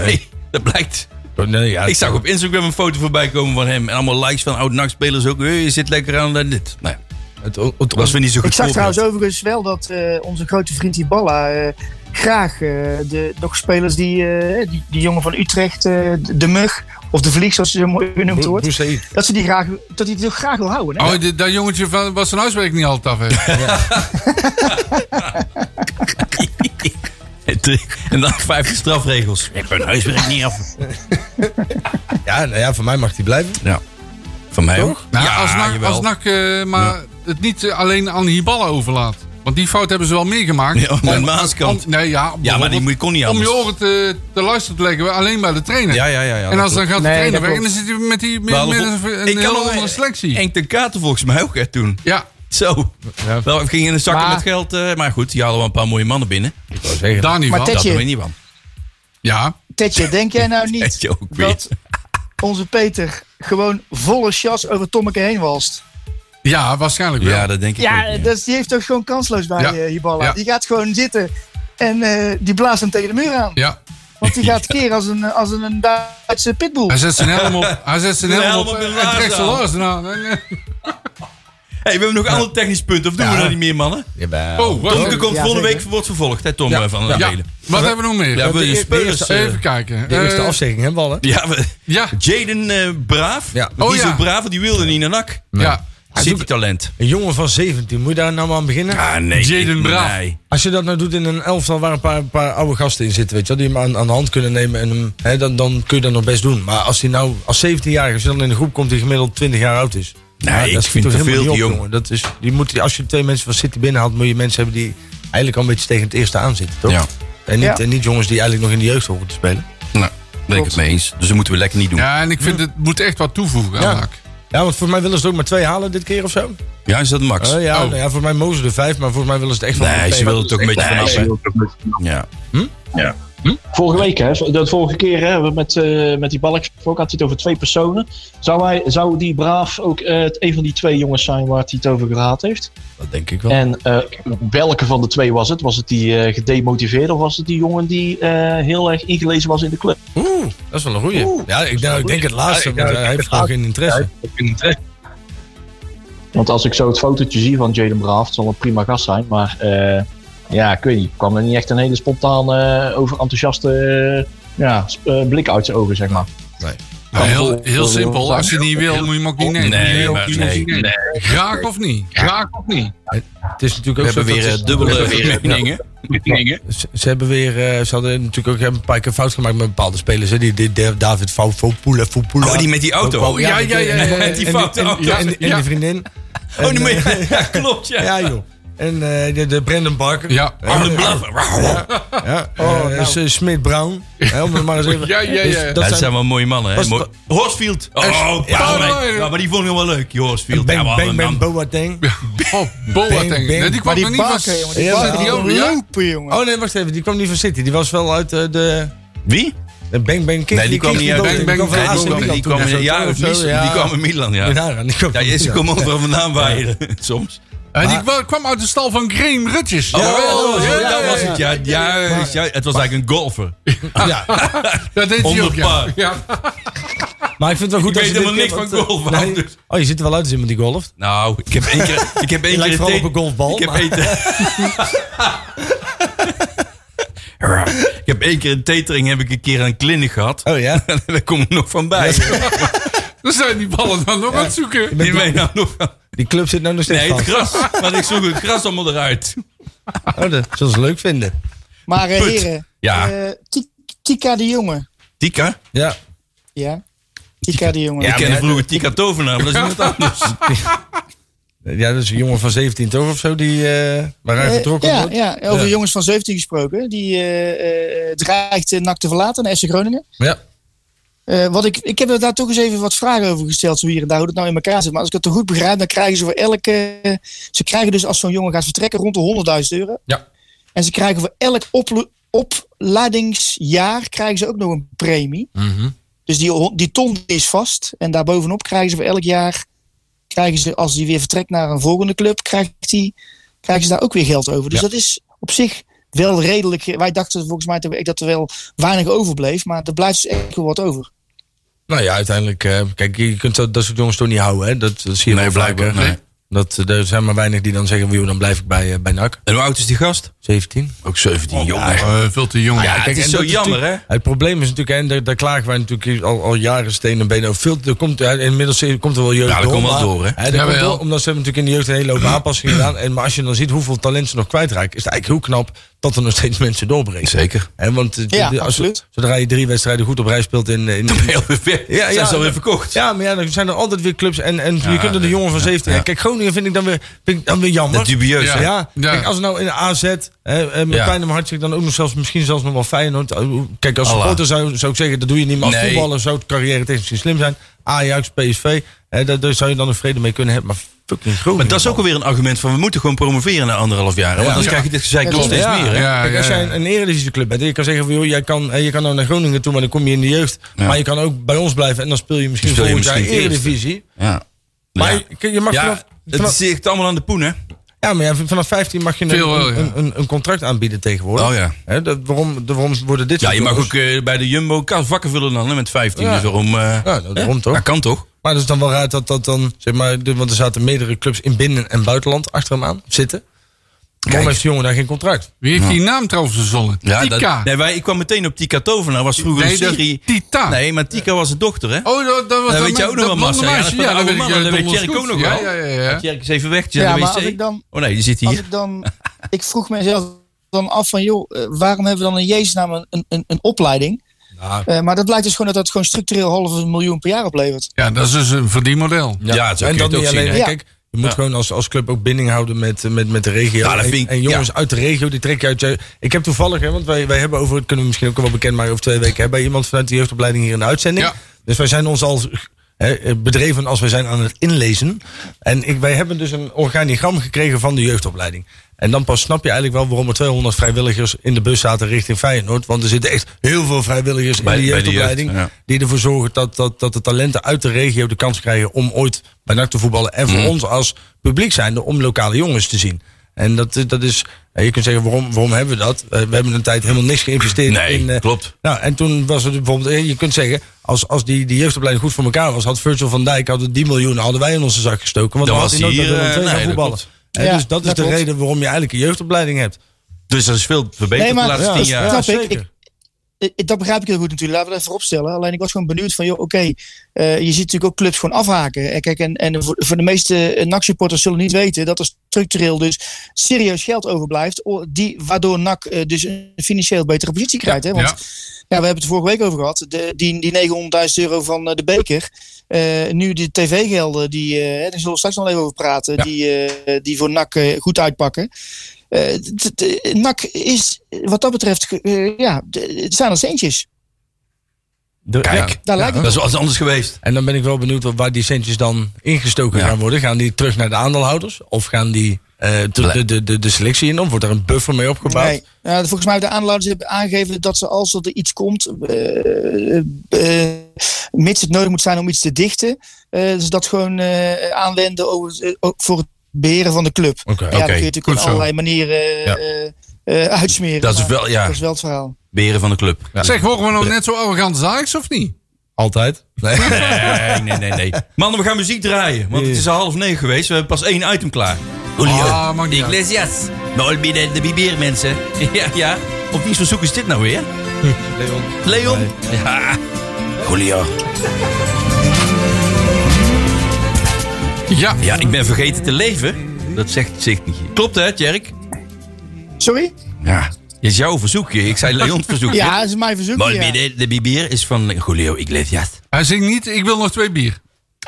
Nee, dat blijkt.
nee ja.
Ik zag op Instagram een foto voorbij komen van hem. En allemaal likes van oud-nachtspelers ook. Hey, je zit lekker aan eh, dit. Nou, ja,
Het, het, het,
was weer niet zo goed
ik zag
voorbeeld.
trouwens overigens wel dat eh, onze grote vriend Iballa eh, graag eh, de, nog spelers die, eh, die, die jongen van Utrecht, eh, de- de mug of de vlieg zoals ze zo mooi genoemd
Bo-
wordt,
Boussaïd.
dat, ze die graag, dat hij die graag wil houden. Hè?
Oh, dit- dat jongetje van, was zijn huiswerk niet altijd af. hè?
En dan vijf strafregels. Ik ben huiswerk niet af.
Ja, nou ja, voor mij mag hij blijven.
Ja. Van mij ook.
Nou,
Ja,
als NAC,
jawel.
als NAC eh, maar het niet eh, alleen aan Hiballa overlaat. Want die fout hebben ze wel meer gemaakt.
Ja, met Maaskant.
om- nee, ja,
Ja, maar die moet- kon niet
Om
anders.
je oren te, te luisteren te leggen, alleen bij de trainer.
ja, ja. ja
en als dan gaat de
Nee,
trainer
dat
weg en dan
klopt.
zit hij met, die, met,
Maar
met
Alvon- Ik
een, een
kan
hele
nog-
andere selectie.
Henk ten Katen volgens mij ook hè, toen.
ja,
Zo.
Ja.
Wel, het ging in de zakken
Maar-
met geld. eh, maar goed, die halen wel een paar mooie mannen binnen.
daar niet
Maar
van.
Ted-
Dat
Tetje.
doen we niet van.
Ja,
Tetje, denk jij nou niet
Tetje ook weer.
dat onze Peter gewoon volle chas over Tommeke heen walst?
ja, waarschijnlijk wel.
Ja, dat denk ik
Ja,
ook,
dus die heeft toch gewoon kansloos bij
Ja.
eh Hiballa.
Ja.
Die gaat gewoon zitten en eh, die blaast hem tegen de muur aan.
Ja.
Want die gaat keren als een, als een, een Duitse pitbull.
Hij zet zijn helm op. Hij zet zijn
De
helm
helm
op
op
en
de laarzen
trekt zijn
aan.
laarzen aan.
Hey, we hebben nog ander technisch punt, of doen we dat niet meer, mannen?
Oh, wat,
Tomke komt
Ja,
volgende
zeker.
week wordt vervolgd, hè, Tom
Ja,
eh, van der
ja.
ja,
Meulen.
wat hebben we nog meer?
Ja, wil je
de- de
spelers...
eerste-
eh,
Even kijken.
De eerste
Eh,
afzegging, hè, Ballen?
ja, we-
Ja,
Jaden eh, Braaf.
Ja.
Die
Oh,
is
ja.
ook braaf, die wilde niet naar NAC.
ja.
City talent.
Een jongen van 17, moet je daar nou maar aan beginnen?
Ah, nee.
Jaden
ik-
Braaf.
nee.
Als je dat nou doet in een elftal waar een paar, een paar oude gasten in zitten, weet je wel, die hem aan, aan de hand kunnen nemen, en hem, hè, dan, dan kun je dat nog best doen. Maar als hij nou als 17-jarige, als je dan in een groep komt die gemiddeld 20 jaar oud is.
Nee,
Ja,
ik
dat schiet
vind
toch
te
helemaal
veel,
niet
die
op,
jongen.
jongen. Dat is, die moet, als je twee mensen van City binnenhaalt, moet je mensen hebben die eigenlijk al een beetje tegen het eerste aan zitten, toch?
Ja.
En, niet,
Ja.
en niet jongens die eigenlijk nog in de jeugd horen te spelen.
Nou, ben ik het mee eens. Dus dat moeten we lekker niet doen. Ja,
Ja, en ik vind het moet echt wat toevoegen aan
Ja.
NAC.
Ja, want voor mij willen ze er ook maar twee halen dit keer of zo.
is dat max?
Eh, ja,
Oh.
nou ja, voor mij mogen ze er vijf, maar voor mij willen ze het echt wel
nee,
met
ze
twee.
wil het ook een beetje vanaf. hè. Ja.
Vorige week, hè, de vorige keer hè, we met, eh, met die balk gesproken, had hij het over twee personen. Zou, hij, zou die Braaf ook eh, een van die twee jongens zijn waar hij het over gehad heeft?
Dat denk ik wel.
En eh, welke van de twee was het? Was het die eh, gedemotiveerde of was het die jongen die eh, heel erg ingelezen was in de club?
Oeh, dat is wel een goeie. ja, ik, nou, ik denk het laatste, want hij heeft gewoon geen interesse.
Want als ik zo het fotootje zie van Jaden Braaf, het zal een prima gast zijn, maar eh, ja, ik weet niet, kwam er niet echt een hele spontaan eh overenthousiaste eh, ja, sp- eh, blik uit zijn ogen, zeg maar.
Nou, heel, heel simpel. Als je niet wil, moet je hem ook niet nemen.
Nee,
Moet je ook
maar-
niet- moet je
nee,
niet nemen. Graag of niet? Graag of niet?
Het is natuurlijk
We
ook
hebben
zo dat
weer
het-
eh, dubbele
Ja.
meningen. meningen.
Ze, ze hebben weer, eh, ze hadden natuurlijk ook hebben een paar keer fout gemaakt met bepaalde spelers. Hè? Die, die- die- David Vau- Vopula, Vopula.
Oh, die met die auto.
Ook wel-
Ja, ja, ja, ja, ja.
en-
Die
en-
foute
en-
auto.
ja, En, en
Ja.
die vriendin.
Oh,
En,
die
eh,
meen- ja, klopt, ja.
Ja, joh. En eh, de, de Brandon Barker.
Ja.
Oh, de blaffer.
Ja. Eh, eh, Smith Brown. Hè, om het maar eens even.
Ja, ja, ja.
Dus
Ja,
dat
Dat
zijn,
zijn wel mooie mannen, hè?
Was-
Mooi- Horsfield. Oh, ja, maar,
ja.
ja, maar die vond ik wel leuk, die Horsfield.
Bang,
ja, maar
bang, bang,
dan-
Boateng.
Oh,
Bang,
Boateng. Nee, die
bang.
kwam er niet van.
Bakken, jongen. Die
Ja,
bakken
die
hadden
ook, ja.
lopen, jongen.
Oh nee, wacht even. Die kwam niet van City. Die was wel uit eh, de,
Wie?
de Bang Bang King.
Nee, die kwam niet uit.
Bang Bang
kwam van
King.
AC
Nee,
Milan
Die
toen
kwam
of zo,
in- ja,
of zo,
Mies- die kwam in Milan, ja.
Ja, daaraan, die kwam
Ja,
van
ze
Milan.
komen overal vandaan waaien, soms.
En Eh, die kwa- kwam uit de stal van Graham Rutjes.
Oh,
Jawel, ja,
dat
ja,
was
ja.
het, ja. Juist, juist. Het was eigenlijk een golfer.
Ja.
Dat deed hij
Onder
ook, ja.
par.
ja.
Maar ik vind het wel goed
Ik weet
dat je dit
helemaal
keer-
niks van golf, man, dus.
Oh, je ziet er wel uit als iemand die golft.
Nou, ik heb één keer... Ik heb één
Je
keer
lijkt
het
vooral
een-
op een golfbal.
Ik heb,
maar-
één te- ik heb één keer een tetering heb ik een keer een kliniek gehad.
Oh ja?
Daar kom ik nog van bij.
Dan zijn die ballen dan nog aan het zoeken.
Die weet nou nog van-
Die club zit nou nog steeds
Nee, het
vast.
gras. Maar ik zoek het gras allemaal eruit.
Oh, dat zullen ze leuk vinden.
maar eh,
put.
heren,
Ja.
eh, Ti- Tika de Jonge.
Tika?
Ja.
Ja? Tika de Jonge.
ik kende
maar-
vroeger Tika Tovenaar, maar dat is iemand anders.
Ja, dat is een jongen van 17 toch of zo die eh waaruit
Eh,
getrokken
ja,
wordt.
ja, over
Ja.
jongens van 17 gesproken. Die eh, eh, dreigt eh, NAC te verlaten naar FC Groningen.
Ja.
Eh, wat ik, ik heb er daar toch eens even wat vragen over gesteld, zo hier en daar, hoe dat nou in elkaar zit. Maar als ik het toch goed begrijp, dan krijgen ze voor elke... Ze krijgen dus als zo'n jongen gaat vertrekken rond de 100.000 euro.
Ja.
En ze krijgen voor elk oplo- opleidingsjaar krijgen ze ook nog een premie.
Mhm.
Dus die, ho- die ton is vast. En daarbovenop krijgen ze voor elk jaar... Krijgen ze, als die weer vertrekt naar een volgende club, krijgt die, krijgen ze daar ook weer geld over. Dus dat is op zich wel redelijk. Wij dachten volgens mij toch echt dat er wel weinig overbleef. Maar er blijft dus echt wel wat over.
Nou ja, uiteindelijk. eh, kijk, je kunt dat, dat soort jongens toch niet houden. Hè? Dat, dat zie je wel vaker.
blijkbaar, nee.
Dat, eh, er zijn maar weinig die dan zeggen, "Wiew, dan blijf ik bij, eh, bij NAC.
En hoe oud is die gast?
17.
Ook 17, jongen.
Eh, Veel te jong.
Ja, het is
en
zo
dat is
jammer, hè?
natuurlijk- Het probleem is natuurlijk, en daar, daar klagen wij natuurlijk al, al jaren steen en benen over. Veel, er komt, ja, inmiddels komt er wel jeugd
Ja, dat
door.
komt wel
maar-
door, hè?
dat
Jawel.
komt wel, omdat ze hebben natuurlijk in de jeugd een hele hoop aanpassingen gedaan. En, maar als je dan ziet hoeveel talent ze nog kwijtraken, is het eigenlijk heel knap dat er nog steeds mensen doorbreken.
Zeker.
Hè, want eh,
Ja,
de- als,
absoluut.
zodra je drie wedstrijden goed op rij speelt in, eh, in
Heel weer weg.
Ja,
Zijn
ja.
ze alweer verkocht.
Ja, maar ja, dan zijn er altijd weer clubs. En, en je kunt er de jongen van 17. Kijk, Groningen vind ik dan weer, vind ik dan weer jammer.
Dat dubieus,
Ja.
hè?
Ja.
Kijk, als er nou in de AZ, hè, eh, met
Ja.
pijn om hartje, dan ook nog zelfs, misschien zelfs nog wel Feyenoord. Eh, Kijk, als
Allah.
supporter zou, zou ik zeggen, dat doe je niet meer als
Nee.
voetballer. Zou het carrière technisch slim zijn. Ajax, PSV, hè, daar, daar zou je dan een vrede mee kunnen hebben. Maar fucking Groningen.
Maar dat is ook alweer een argument van we moeten gewoon promoveren na anderhalf jaar. hè? Want anders
Ja.
krijg je dit gezeik
Ja,
nog
dat
steeds
ja.
meer. Hè?
Ja.
Kijk, als jij
ja.
een, een eredivisieclub bent, en je kan zeggen van joh, jij kan, hè, je kan nou naar Groningen toe, maar dan kom je in de jeugd.
Ja.
Maar je kan ook bij ons blijven en dan speel je misschien
Speel je
volgend jaar
misschien eerste.
eredivisie.
Ja.
Maar
ja.
je, je mag
Ja,
vanaf-
het
vanaf-
is echt allemaal aan de poen, hè?
Ja, maar ja, v- vanaf 15 mag je een,
Veel wel,
een,
ja.
een, een- een contract aanbieden tegenwoordig.
Oh ja.
Hè, dat, waarom, de- waarom worden dit
Ja,
soort
je mag
jongens-
ook eh, bij de Jumbo ka- vakken vullen dan hè, met 15.
Ja.
Dus waarom? eh,
Ja, dat- daarom toch?
Dat kan toch?
Maar het is dan wel raar dat dat dan, zeg maar, de- want er zaten meerdere clubs in binnen- en buitenland achter hem aan zitten. Waarom heeft die jongen daar geen contract?
Wie heeft die naam trouwens verzonnen? Tika.
dat- nee, wij, ik kwam meteen op Tika Tovenaar. Was vroeger
Nee,
een
dat-
serie.
Tita.
Nee, maar Tika was een dochter, hè?
Oh, dat, dat
Dat
was dat
weet jij
met-
ook nog
dat
wel, Massa.
blonde
Ja,
meisje.
dat
Ja,
oude
dat weet
mannen,
ik
dat weet
donders
Jerk
goed.
ook nog
Ja,
wel.
Ja, ja, ja.
Jerk is even weg.
Ja,
Ja, de
maar
wc.
als ik dan-
Oh nee, die zit
Als
hier.
ik dan, ik vroeg mezelf dan af van, joh, eh, waarom hebben we dan in Jezus naam een, een, een, een opleiding?
Nou.
Eh, maar dat blijkt dus gewoon dat dat gewoon structureel half een miljoen per jaar oplevert.
Ja, dat is dus een verdienmodel.
Ja, het zo kun
en
je
dan
het ook
niet alleen.
zien. hè?
hè?
Kijk, je moet gewoon als, als club ook binding houden met, eh, met, met de regio.
Ja, dat
en,
vind ik-
en jongens
ja.
uit de regio, die trek je uit. je- Ik heb toevallig, hè, want wij, wij hebben over, dat kunnen we misschien ook wel bekend maken over twee weken, hebben iemand vanuit de jeugdopleiding hier in de uitzending.
Ja.
Dus wij zijn ons al hè, bedreven als wij zijn aan het inlezen. En ik, wij hebben dus een organigram gekregen van de jeugdopleiding. En dan pas snap je eigenlijk wel waarom er 200 vrijwilligers in de bus zaten richting Feyenoord. Want er zitten echt heel veel vrijwilligers
Bij-
in de
bij de jeugd,
jeugdopleiding.
ja.
Die ervoor zorgen dat, dat, dat de talenten uit de regio
Mhm.
de kans krijgen om ooit bij NAC te voetballen. En voor ons als publiek zijnde om lokale jongens te zien. En dat, is- dat is, ja, je kunt zeggen, waarom, waarom hebben we dat? Eh, we hebben een tijd helemaal niks geïnvesteerd in,
Nee,
eh,
klopt.
nou, en toen was het bijvoorbeeld, eh, je kunt zeggen, als, als die, die jeugdopleiding goed voor elkaar was, had Virgil van Dijk hadden die miljoenen hadden wij in onze zak gestoken. Want
Dan
dan
was
had hij nooit
hij
bij
hier,
Willem
eh,
II
nee,
gaan
dat
voetballen.
klopt.
Eh,
Ja,
dus dat is
dat
de
klopt.
reden waarom je eigenlijk een jeugdopleiding hebt.
Dus dat is veel verbeterd
Nee, maar-
de laatste
ja,
tien
dat
jaar.
snap ik.
zeker.
Ik- Eh, Dat begrijp ik heel goed natuurlijk. Laten we dat even opstellen. Alleen ik was gewoon benieuwd van, joh, oké, eh, je ziet natuurlijk ook clubs gewoon afhaken. En kijk, en, en voor, voor de meeste eh, NAC-supporters zullen niet weten dat er structureel dus serieus geld overblijft, o- die, waardoor NAC eh, dus een financieel betere positie krijgt. hè? Want
Ja.
ja. we hebben het er vorige week over gehad. De, die die 900.000 euro van eh, de beker. eh, nu de tv-gelden, die, eh, daar zullen we straks nog even over praten, die, eh, die voor NAC eh, goed uitpakken. Eh, t- t- NAC is wat dat betreft, ge- eh, ja, d- het zijn er centjes.
Kijk,
Daar lijkt
dat is wel eens anders geweest.
En dan ben ik wel benieuwd wat- waar die centjes dan ingestoken
Ja.
gaan worden. Gaan die terug naar de aandeelhouders? Of gaan die eh, de, de, de, de, de selectie in? Of wordt daar een buffer mee opgebouwd?
Nee. Ja, volgens mij hebben de aanhouders hebben aangegeven dat ze als er iets komt, eh, eh, mits het nodig moet zijn om iets te dichten, eh dus dat gewoon eh, aanwenden over, eh, ook voor het beheren van de club.
Oké.
ja, dat kun je
goed
natuurlijk op
zo.
allerlei manieren eh,
Ja.
eh, eh, uitsmeren.
Dat is
maar
wel, ja,
dat is wel het verhaal.
beren van de club.
Zeg, horen we nou net zo arrogant als Ajax of niet?
Altijd? Nee.
Nee, nee, nee, nee. Mannen, we gaan muziek draaien. Want het is al half negen geweest. We hebben pas één item klaar. Julio.
Ah, maakt niet uit.
Iglesias. Me olvide de vivir, mensen. Ja, ja. Op wiens verzoek is dit nou weer? Leon. Leon? Ja. Julio.
Ja.
Ja, ik ben vergeten te leven. Dat zegt zich niet. Klopt hè, Jerk?
Sorry?
Ja. Is jouw verzoekje. Ik zei Leon's verzoekje.
Ja, dat is mijn verzoek.
Me
ja.
olvidé de vivir is van Julio Iglesias.
Hij zingt niet, ik wil nog twee bier.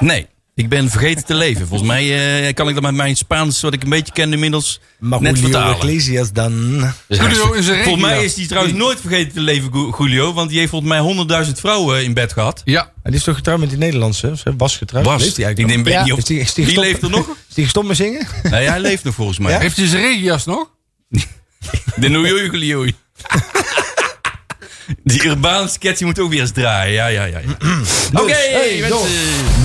Nee, ik ben vergeten te leven. Volgens mij eh, kan ik dat met mijn Spaans, wat ik een beetje ken inmiddels, net vertalen.
Iglesias dan...
Dus hij is-
Julio in zijn regio.
Volgens mij is hij trouwens nooit vergeten te leven, Gu- Julio. Want die heeft volgens mij 100.000 vrouwen in bed gehad.
Ja,
Hij is toch getrouwd met die Nederlandse? Of ze was getrouwd?
Was.
Leeft hij
ik
eigenlijk
neem
Ja.
niet
nog?
op.
Is die, is die
Wie
gestopt-
leeft er nog?
Is die gestopt met zingen?
Nee, hij leeft nog volgens mij.
heeft hij zijn regenjas nog?
De Noejoe Julio. Die urbaanse sketch die moet ook weer eens draaien. Ja, ja, ja. ja. Oké, eh, mensen.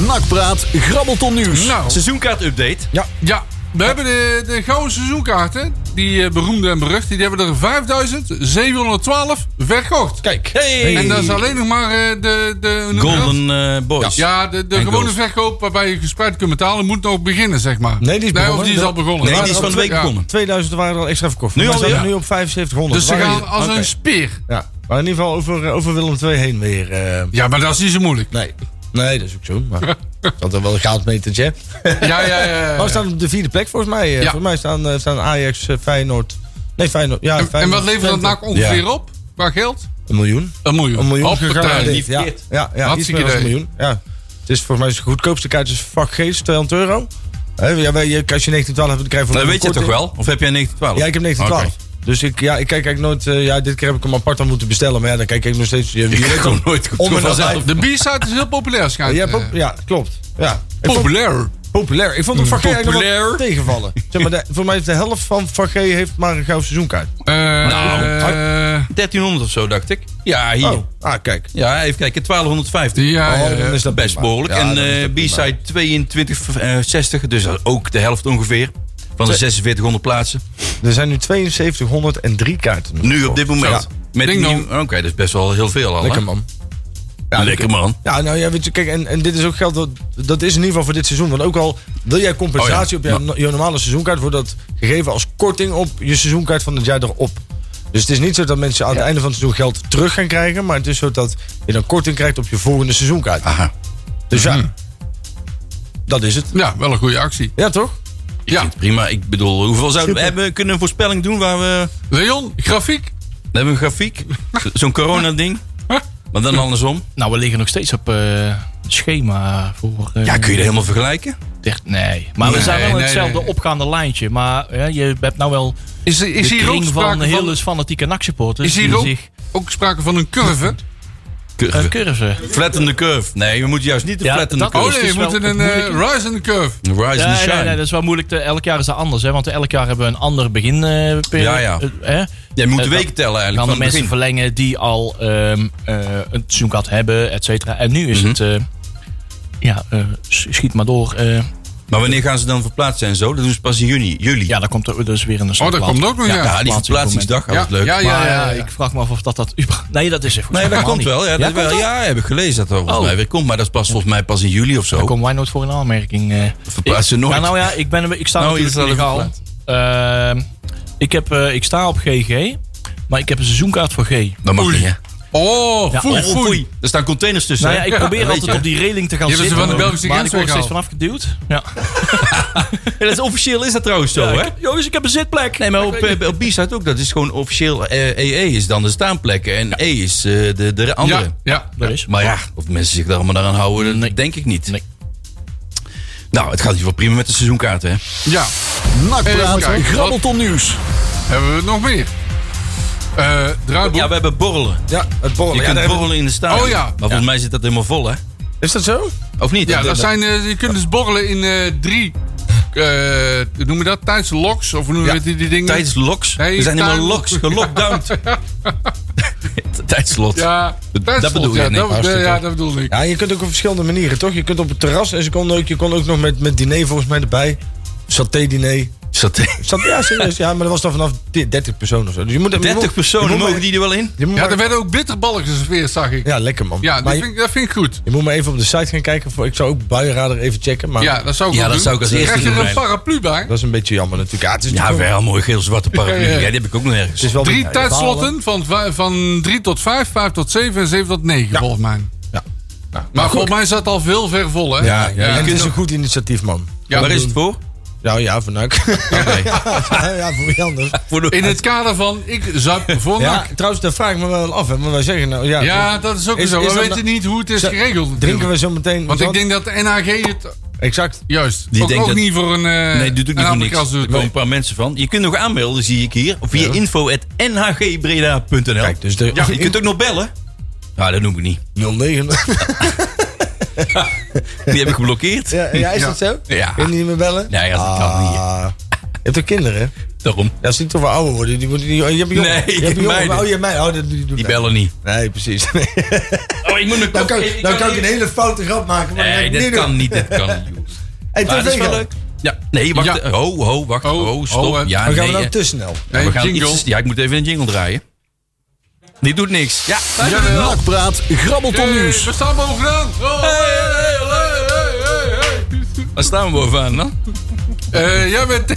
Nakpraat, grabbelton nieuws.
Nou,
Seizoenkaart update.
ja. We hebben de, de gouden seizoenkaarten, die eh, beroemde en berucht, die hebben er 5712 verkocht.
Kijk.
Hey.
En dat is alleen nog maar eh, de... de hoe noem je dat?
Golden eh, Boys.
Ja, de, de
En
gewone
goals.
verkoop waarbij je gespreid kunt betalen moet nog beginnen, zeg maar.
Nee, die is
of
begonnen.
die is al begonnen.
Nee, die is van de week
Ja.
begonnen.
2000 waren er al extra verkocht.
Nu
Maar
alweer?
staat nu op 7500.
Dus ze
Waar is
gaan
het?
als
Oké.
een speer.
Ja. Maar in ieder geval over, eh, over Willem II heen weer. eh,
Ja, maar dat is niet zo moeilijk.
nee. Nee, dat is ook zo. Maar dat er wel een goudmetertje. hè?
Ja, ja, ja.
Maar we staan op de vierde plek volgens mij. eh.
Ja.
Volgens mij staan, eh, staan Ajax, eh, Feyenoord... Nee, Feyenoord. Ja,
En, en
Feyenoord,
wat levert dat
Twente.
NAC ongeveer op? Qua geld?
Een miljoen.
Een miljoen.
Een miljoen
Hoppatee.
gegarandeerd.
Niet
Ja,
verkeerd.
ja, ja iets
Hartstikke
meer dan een
idee.
miljoen. Ja. Het is volgens mij de goedkoopste kaart is vak Geest, 200 euro. Hè, ja, wij- je- als je 1912 hebt, dan krijg je
Dat
voor een
Eh, weet je toch
korting.
wel? Of heb jij 1912?
Ja, ik heb 1912. Dus ik, ja, ik kijk eigenlijk nooit... eh, ja, dit keer heb ik hem apart aan moeten bestellen. Maar ja, dan kijk ik nog steeds... eh, Je, je
Ik
weet
heb
toch-
gewoon nooit goed
Om en
vanzelf.
nabij.
De B-side is heel populair, schijnt.
ja,
eh.
pop- ja, klopt. Ja. Ik vond-
Populair.
populair. Ik vond het vak G eigenlijk nog wel
Populair.
tegenvallen. Zeg maar, de- voor mij heeft de helft van vak G heeft maar een gouden seizoenkaart.
Eh, eh,
1300 of zo, dacht ik. Ja, hier.
Oh, ah, kijk.
Ja, even kijken. 1250.
ja, ja,
Oh, dan
ja.
is dat
Best
prima.
behoorlijk.
Ja,
en
dan is
eh
dat prima.
B-side 2260. dus dat is ook de helft ongeveer. Van de 4600 plaatsen.
Er zijn nu 7203 kaarten.
Nu op dit moment.
Ja.
Met die
Ding
nieuwe- Oké, dat is best wel heel veel al. hè?
Lekker man.
Ja, Lekker man.
Ja, nou ja, weet je, kijk, en, en dit is ook geld dat, dat is in ieder geval voor dit seizoen. Want ook al wil jij compensatie
Oh ja,
op jouw, je normale seizoenkaart, wordt dat gegeven als korting op je seizoenkaart van het jaar erop. Dus het is niet zo dat mensen aan het einde van het seizoen geld terug gaan krijgen, maar het is zo dat je dan korting krijgt op je volgende seizoenkaart.
Aha. Mhm.
Dus ja, dat is het.
ja, wel een goede actie.
Ja, toch?
Ik vind het prima. Ik bedoel, hoeveel zouden we
Super.
hebben? Kunnen we een voorspelling doen waar we...
Leon, grafiek.
We hebben een grafiek. Zo- Zo'n corona-ding. Maar dan andersom.
Nou, we liggen nog steeds op eh, het schema voor... eh,
Ja, kun je dat helemaal vergelijken?
dicht- Nee. Maar we
Nee,
zijn wel in
nee,
hetzelfde
nee.
opgaande lijntje. Maar ja, je hebt nou wel
Is, er- is
de
hier ook
kring van
sprake
heel
van,
eens fanatieke NAC-supporters...
Is hier
die
ook-
zich
ook sprake van een curve?
Curve.
een curve...
Flatten the curve. Nee, we moeten juist niet de
Ja,
flatten the
dat-
Oh
curve.
het
dus
nee,
is
we
wel
moeten
het
een eh,
moeilijke-
rise in the curve.
Rise
Ja,
and
nee,
shine.
nee, dat is wel moeilijk. te- Elk jaar is dat anders, hè? Want elk jaar hebben we een ander beginperiode. eh,
Ja, ja. Jij moet de weken tellen
En dan de
eigenlijk van het
mensen
begin.
verlengen die al ehm eh een
Mhm.
seizoenkaart hebben, et cetera. En nu is het, eh, ja, eh, s- schiet maar door. eh,
Maar wanneer gaan ze dan verplaatsen en zo? Dat doen ze pas in juni, juli.
Ja, dan komt er dus weer een
Oh, dat komt ook nog, ja.
Ja, die verplaatsingsdag,
ja,
altijd leuk.
ja, ja,
Maar
ja,
eh,
ja.
ik vraag me af of dat dat... überhaupt- Nee, dat is er volgens
Nee,
mij
dat komt
helemaal
wel. Ja,
niet.
dat wel,
komt
ja heb ik gelezen dat dat volgens
Oh.
mij weer komt. Maar dat is pas volgens mij pas in juli of zo.
Daar komen wij nooit voor in aanmerking. eh.
Verplaatsen
Ik-
nooit.
Ja, nou ja, ik, ben, ik sta
Nou,
natuurlijk
hier is het al
illegaal. Ehm, ik, heb, eh, ik sta op GG, maar ik heb een seizoenkaart voor G. Nou
Dat mag niet, hè?
Oh,
Ja,
foei,
oh,
Oei,
foei.
Er staan containers tussen.
Nou ja,
hè?
ik probeer
dat
altijd
weet
op
je.
die reling te gaan
Je hebt ze
zitten.
van de Belgische
maar
grens
ik word er steeds
weggehaald.
vanaf geduwd. Ja.
Ja, dat is officieel is dat trouwens zo, hè?
Jongens, ik heb een zitplek.
Nee, maar op, eh, op B staat ook. Dat is gewoon officieel eh, EE is dan de staanplekken. En E is eh, de, de andere.
Ja, ja.
Dat is.
Maar ja, of mensen zich daar allemaal aan houden, dat denk ik niet.
Nee.
Nou, het gaat hier wel prima met de seizoenkaarten, hè?
ja.
Nakpraat,
Even kijken, wat-
grabbelton nieuws.
Hebben we nog meer? Eh draaiboek.
Ja, we hebben borrelen.
Ja, het
Je
borrelen. Ja,
kunt
daar-
borrelen in de staan.
Oh ja.
Maar volgens mij zit dat helemaal vol, hè?
Is dat zo?
Of niet?
Ja, dat zijn, eh, je kunt dus borrelen in eh, drie, eh, hoe noemen we dat? Tijdsloks, of hoe noemen we die, die dingen?
Tijdens loks.
Nee,
we zijn helemaal
tuin-
loks, gelockdowned. Tijdslot.
Ja, tijdslot,
dat bedoel je,
ja,
Nick,
dat,
hartstikke.
ja, dat bedoel ik.
Ja, je kunt ook op verschillende manieren, toch? Je kunt op het terras en ze kon ook, je kon ook nog met, met diner volgens mij erbij. Saté-diner.
Zat
Zat- ja, serieus. Ja, maar dat was dan vanaf di- 30 personen of zo. Dus je moet, je moet-
30
je
personen,
moet maar-
mogen die er wel in?
je moet
Ja,
maar-
er werden ook bitterballen geserveerd, zag ik. Ja,
ja, lekker man.
dat,
maar je,
vind, ik- dat vind ik goed.
je moet maar even op de site gaan kijken. Voor, ik zou ook buienrader even checken. Maar
Ja, dat zou ik
Oh. Ja,
wel
dat zou
doen.
ik als eerste
Krijg je er
doen,
een
Rijn.
paraplu bij?
dat is een beetje jammer natuurlijk. Ja, het is,
Ja,
natuurlijk
wel mooi geel-zwarte paraplu.
Ja,
Ja,
ja.
die heb ik ook
het
nergens.
is wel
Drie
weer-
tijdslotten van, v- van 3 tot 5, 5 tot 7 en 7 tot 9, volgens mij.
Ja.
Nou,
Maar volgens mij zat het al veel ver vol, hè?
Ja, ja,
ja.
het is een goed initiatief man.
Ja,
Waar is het voor?
Nou ja, voor Nuik.
Oké.
ja, voor Jander.
Voor de-
In het kader van ik zuip voor
Ja,
nak.
trouwens, daar vraag ik me wel af. Hè, want wij zeggen nou, ja,
Ja, dat is ook
Is-
zo.
is
We
dat
weten
nou-
niet hoe het is
Zo-
geregeld. natuurlijk.
drinken we zo meteen.
Want
zo-
ik denk dat de NHG het
Exact.
juist
Die
ook,
denkt
ook
dat-
niet voor een eh
Nee, doet ook niet voor
een
niks.
Afrikaans
Er
doet het
komen een
mee.
paar mensen van. Je kunt nog aanmelden, zie ik hier. Via info.nhgbreda.nl
Kijk, dus de,
Ja, je kunt ook nog bellen. Nou, dat noem ik niet.
09.
Die heb ik geblokkeerd.
ja, ja, is dat zo?
Ja.
Kun je niet meer bellen?
Nee, dat kan
Ah. Je hebt toch kinderen? hè?
Daarom.
Ja, als die toch wel ouder worden. Die moeten, die, je hebt een jongen.
Nee,
je hebt een
meiden.
jongen. Oh, je hebt mij. Oh, dat die,
Die bellen niet.
Nee, precies. Nee.
Oh, ik moet een
Dan Nou, kan, dan kan ik een hele foute grap maken. Maar
Nee,
dat
dat
ga ik
kan niet. Dat kan niet. joh.
Hey,
Maar dat is wel
TV
leuk. Ja. Nee, wacht.
Ja.
Ho, ho, wacht.
Oh,
Ho, stop.
oh, eh,
ja,
We gaan
nee,
nou
eh,
te snel.
Nee,
we gaan
jingle.
iets, ja, ik moet even een jingle draaien. Die doet niks. Ja,
Jawel.
Nakpraat, grabbelton
Hey,
nieuws.
Eh, we staan bovenaan. Oh, hey, hey, hey, hey, hey,
waar staan we bovenaan dan?
hey. Eh, jij bent...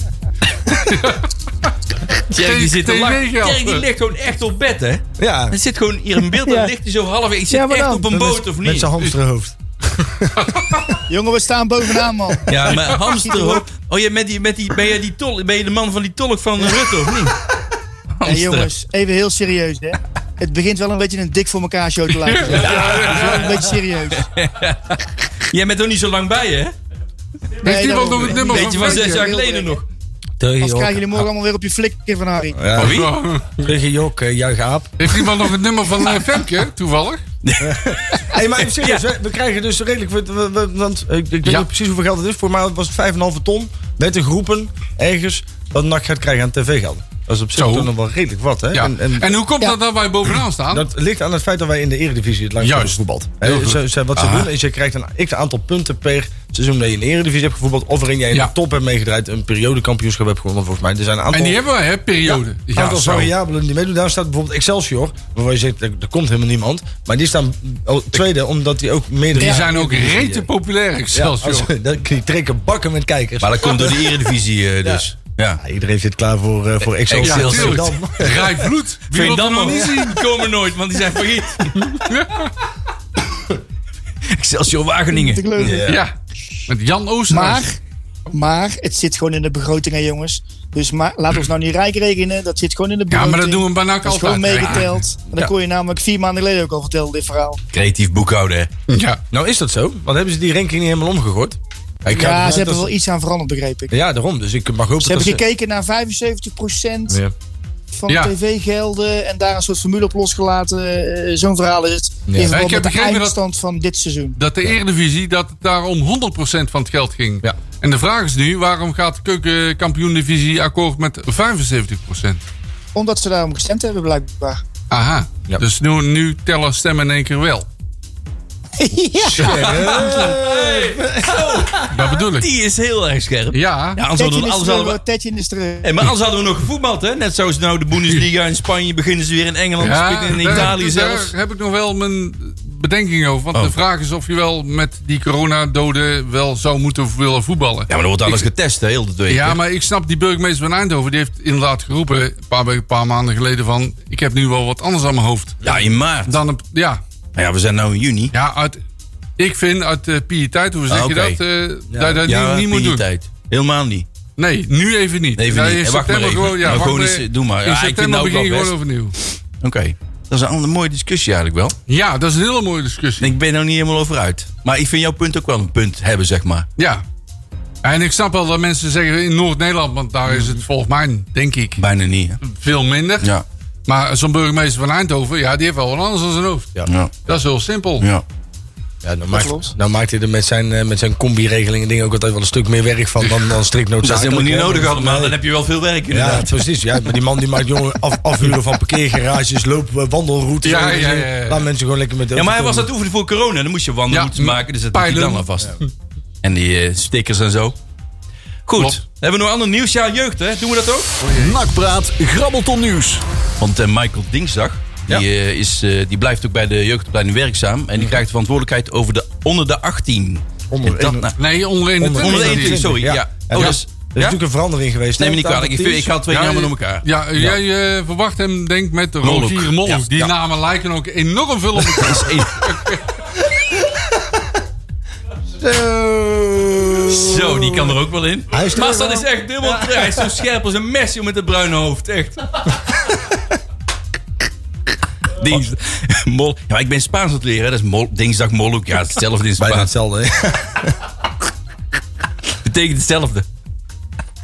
Jerry die zit te
TV
lachen.
geld.
Jerry die ligt gewoon echt op bed, hè?
Ja.
Er zit gewoon hier een beeld,
Ja.
dan ligt hij zo half. Ik zit
Ja, maar
echt
dan.
op een
Dat is
boot, of niet?
Met zijn hamsterhoofd.
Jongen, we staan bovenaan, man.
Ja, maar hamsterhoofd. Oh, jij met die, met die, ben, jij die tol, ben je de man van die tolk van Rutte, of niet?
Hey,
Hamster.
jongens, even heel serieus, hè. Het begint wel een beetje een dik voor elkaar show te lijken. zeg. Het is wel een beetje serieus.
Jij bent er niet zo lang bij, hè?
Heeft iemand
daarom.
nog het nummer
Beetje van
Frank?
zes jaar
heel
geleden
erg.
nog.
Anders krijgen jullie morgen allemaal weer op je flikker van Harry.
Ja.
Van wie?
Tegen Jok, eh, juich aap.
Heeft iemand nog het nummer van eh, Femke, toevallig?
Hé, maar even serieus, we, we krijgen dus redelijk... we- we- we- want eh, ik, ik weet
Ja.
niet precies hoeveel geld het is. Voor mij was het 5,5 ton. Werd er geroepen, ergens, dat NAC gaat krijgen aan tv-geld. Dat is op zich
Zo.
toch nog wel redelijk wat, hè?
Ja.
En, en
hoe komt dat dat wij bovenaan staan?
dat ligt aan het feit dat wij in de eredivisie het langst hebben
Juist.
gevoetbald.
Heel
Hè,
goed.
ze, ze- wat ze doen is, je krijgt een x aantal punten per seizoen dat je in de eredivisie hebt gevoetbald. Of waarin jij in
Ja.
de top hebt meegedraaid. Een periodekampioenschap hebt gewonnen, volgens mij. Er zijn een aantal...
en die hebben wij, hè, periode.
Een aantal variabelen die meedoen. Daar staat bijvoorbeeld Excelsior, waarvan je zegt, er, er komt helemaal niemand. Maar die staan al tweede, omdat die ook meerdere...
Die zijn ook rete populair, Excelsior.
Ja, als- dat- die trekken bakken met kijkers.
Maar dat komt door de Eredivisie, eh, dus. Ja.
Ja, iedereen zit klaar voor, eh, voor Excelsior.
Ja,
Excelsior.
tuurlijk.
Amsterdam.
Rijvloed. Wie wil dat
Veendam
nog
ook.
niet zien?
Die komen nooit, want die zijn failliet. Excelsior
Te
Wageningen.
kleuren.
Ja. Met Jan Oosterhuis.
Maar, maar het zit gewoon in de begroting, hè, jongens. Dus maar, laat ons nou niet rijk rekenen. Dat zit gewoon in de
Ja,
begroting.
maar dat doen we bij NAC
Dat is
altijd.
gewoon meegeteld. Maar Dat kon je namelijk vier maanden geleden ook al vertellen, dit verhaal.
Creatief boekhouden, hè?
Ja.
Nou is dat zo, want hebben ze die ranking niet helemaal omgegooid? Ja, ik ga ervan
Ja,
uit
ze hebben
dat
wel iets aan veranderd, begreep ik.
Ja, daarom. Dus ik mag hopen
Ze
dat
hebben
ze...
gekeken naar 75%
Ja.
van
Ja.
tv-gelden en daar een soort formule op losgelaten. Eh, Zo'n verhaal is het. In verband
Ik heb
met de
begrepen dat-
eindstand van dit seizoen.
Dat de Eredivisie, dat het daar om 100% van het geld ging.
Ja.
En de vraag is nu, waarom gaat de keukenkampioen-divisie akkoord met 75%?
Omdat ze daarom gestemd hebben, blijkbaar.
Aha.
Ja.
Dus nu, nu tellen stemmen in één keer wel. Dat bedoel ik.
Die is heel erg scherp.
Ja,
Ja, anders
Tetje
hadden, we-
is
anders
terug,
hadden we
hoor. Tetje is terug.
Hey, maar anders hadden we nog gevoetbald, hè? Net zoals nou de Bundesliga in Spanje beginnen ze weer in Engeland te
ja
spelen, in
daar-
Italië
daar
zelfs.
heb ik nog wel mijn bedenking over. Want
Oh.
de vraag is of je wel met die coronadoden wel zou moeten willen voetballen.
Ja, maar dan wordt alles getest, hè, heel de week.
Ja, maar ik snap die burgemeester van Eindhoven. Die heeft inderdaad geroepen, een paar, we- een paar maanden geleden, van... Ik heb nu wel wat anders aan mijn hoofd.
ja, in maart.
Dan een- ja,
Nou ja, we zijn nu in juni.
ja uit, ik vind uit de pietijd, hoe zeg
Ah, oké.
je dat? eh, dat je dat
ja,
niet, niet moet
die
doen.
tijd. Helemaal niet.
Nee, nu even niet.
Even
Ja,
niet.
in
En wacht maar
september
even.
gewoon, ja,
Nou,
wacht
gewoon
maar.
eens, doe maar. Ja,
in
ik vind
september
nou ook
begin je
wel
gewoon overnieuw.
Oké. Dat is een, een mooie discussie eigenlijk wel.
Ja, dat is een hele mooie discussie.
Ik ben er niet helemaal over uit. Maar ik vind jouw punt ook wel een punt hebben, zeg maar.
Ja. En ik snap wel dat mensen zeggen in Noord-Nederland, want daar is het volgens mij, denk ik,
Bijna niet, hè?
veel minder.
Ja.
Maar zo'n burgemeester van Eindhoven, ja, die heeft wel wat anders aan zijn hoofd.
Ja.
Ja.
Dat is heel simpel.
ja.
Ja, dan maakt, dan maakt hij er met zijn, eh, met zijn combi-regeling en dingen ook altijd wel een stuk meer werk van dan, dan strikt
Dat is
noodzakelijk.
helemaal niet
hè.
nodig allemaal. Dan heb je wel veel werk, inderdaad.
Ja, precies. Ja, maar die man die maakt jongen af, afhuren van parkeergarages, loop, eh, wandelroutes.
Ja,
en
ja,
zo.
ja, ja.
Laat mensen gewoon lekker met de
Ja, maar hij
auto
was aan
komen.
het oefenen voor corona. Dan moest je wandelroutes
Ja,
maken. Dus dat deed hij
pijlen.
dan alvast. En die eh, stickers en zo. Goed.
Klopt.
Hebben we nog ander nieuws? Ja, jeugd, hè? Doen we dat ook?
Nakpraat, grabbelton nieuws.
Want eh, Michael Dingsdag, die, eh, is, eh, die blijft ook bij de jeugdopleiding werkzaam. En die krijgt de verantwoordelijkheid over de onder de 18.
Onder-
En dat
in-
nou-
Nee, onder in de
Onder-
onder de
20.
21, sorry. Ja.
Ja.
Oh,
Ja.
dat is...
Dat
Ja?
is natuurlijk een verandering geweest.
Neem me
hè,
niet
op het
kwalijk. Ik, vind- ik
aantal
haal twee
Ja,
namen
je-
door elkaar.
Ja, eh, jij eh, verwacht hem denk ik met Rogier Molk.
Ja,
Die
ja.
namen lijken ook enorm veel op elkaar.
Dat is één. Zo, die kan er ook wel in.
Hij is er
Maar
wel.
dat is echt dubbel. Hij is zo scherp als een mesje met het bruine hoofd. Echt. Dings, mol. Ja, maar ik ben Spaans aan het leren. hè. Dat is mol, dinsdag moluk. Ja, hetzelfde in
Bijna
Spaans.
hetzelfde. hè.
Betekent hetzelfde.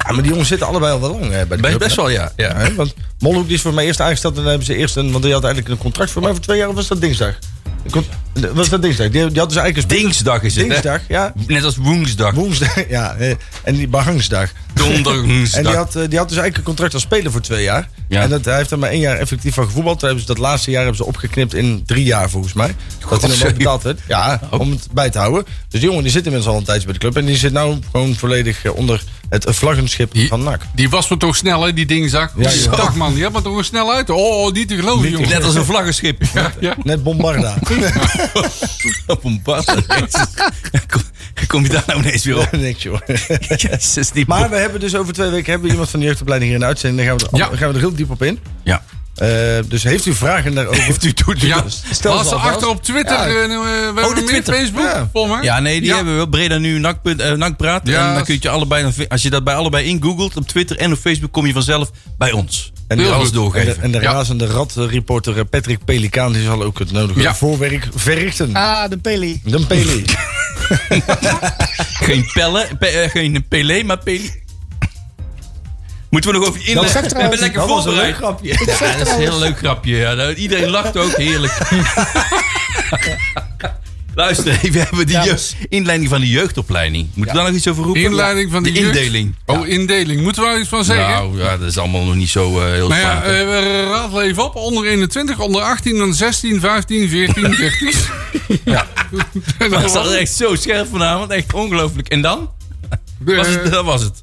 Ja, maar die jongens zitten allebei al wel lang eh, bij de
Best,
club,
best
hè.
wel, ja. ja.
Ja, hè, want Molhoek die is voor mij eerst aangesteld en dan hebben ze eerst een, want die had eigenlijk een contract voor mij voor twee jaar of was dat dinsdag? Een con- Was dat dinsdag? Die, die had dus eigenlijk een
Dinsdag is het. hè.
dinsdag, ja.
Net als woensdag.
Woensdag, ja. eh, En die Bahangsdag.
Donderdag.
En die
woensdag.
had, eh, die had dus eigenlijk een contract als speler voor twee jaar.
Ja.
En dat, hij heeft er maar één jaar effectief van gevoetbald. Toen hebben ze dat laatste jaar hebben ze opgeknipt in drie jaar volgens mij. Dat hij hem
sorry.
ook betaald heeft. Ja, om het bij te houden. Dus die jongen die zit inmiddels al een tijdje bij de club. En die zit nou gewoon volledig eh, onder het vlaggenschip
Die-
van NAC.
Die was me toch snel, hè, die dingzak.
Ja,
die
ja.
dag, man, die had me toch snel uit. Oh, niet te geloven, jongen.
Net als een vlaggenschip.
Net Bombarda.
Op een bad. Kom, kom je daar nou ineens weer op?
Niks joh.
Jezus, die
Maar we hebben dus over twee weken hebben we iemand van de jeugdopleiding hier in de uitzending. Dan gaan we er,
Ja.
dan gaan we er heel diep op in.
Ja.
Eh, dus heeft u vragen daarover? Heeft u toet?
Ja,
Stel
was
ze
ze
alvast.
achter op Twitter.
Ja.
eh, eh, we hebben
de
hem in
Oh, Twitter.
Facebook,
Ja.
volgens mij.
Ja, nee, die hebben we wel. Breda nu, NAC, punt- eh, NAC praat.
Ja.
En dan kun je het je allebei, dan vi- als je dat bij allebei ingoogelt op Twitter en op Facebook, kom je vanzelf bij ons. En
die-
die alles
goed.
En de,
doorgeven.
en de
Ja.
razende radreporter eh, Patrick Pelikaan die zal ook het nodige
Ja.
voorwerk verrichten.
Ah, de Peli.
Dan Peli.
Geen pellen, pe- eh, geen Pelé, maar Peli. Moeten we nog over je inleg?
zegt
We hebben
trouwens-
lekker
Dat was een leuk
voorbereid.
grapje.
Ja, dat is een heel leuk grapje. Ja. Nou, Iedereen lacht ook, heerlijk. Luister, even hebben we die jeugd- inleiding van de jeugdopleiding. Moeten we daar nog iets over roepen?
Inleiding van de,
de
jeugd.
indeling.
Oh, indeling. Moeten we daar iets van zeggen?
Nou, ja, dat is allemaal nog niet zo eh, heel
Nou ja,
spannend.
eh, we radelen even op. Onder 21, onder 18, dan 16, 15, 14, 13.
Ja.
En
Maar
dan
het zat er echt zo scherp vanavond. Echt ongelooflijk. En dan?
eh,
Was het, dat was het.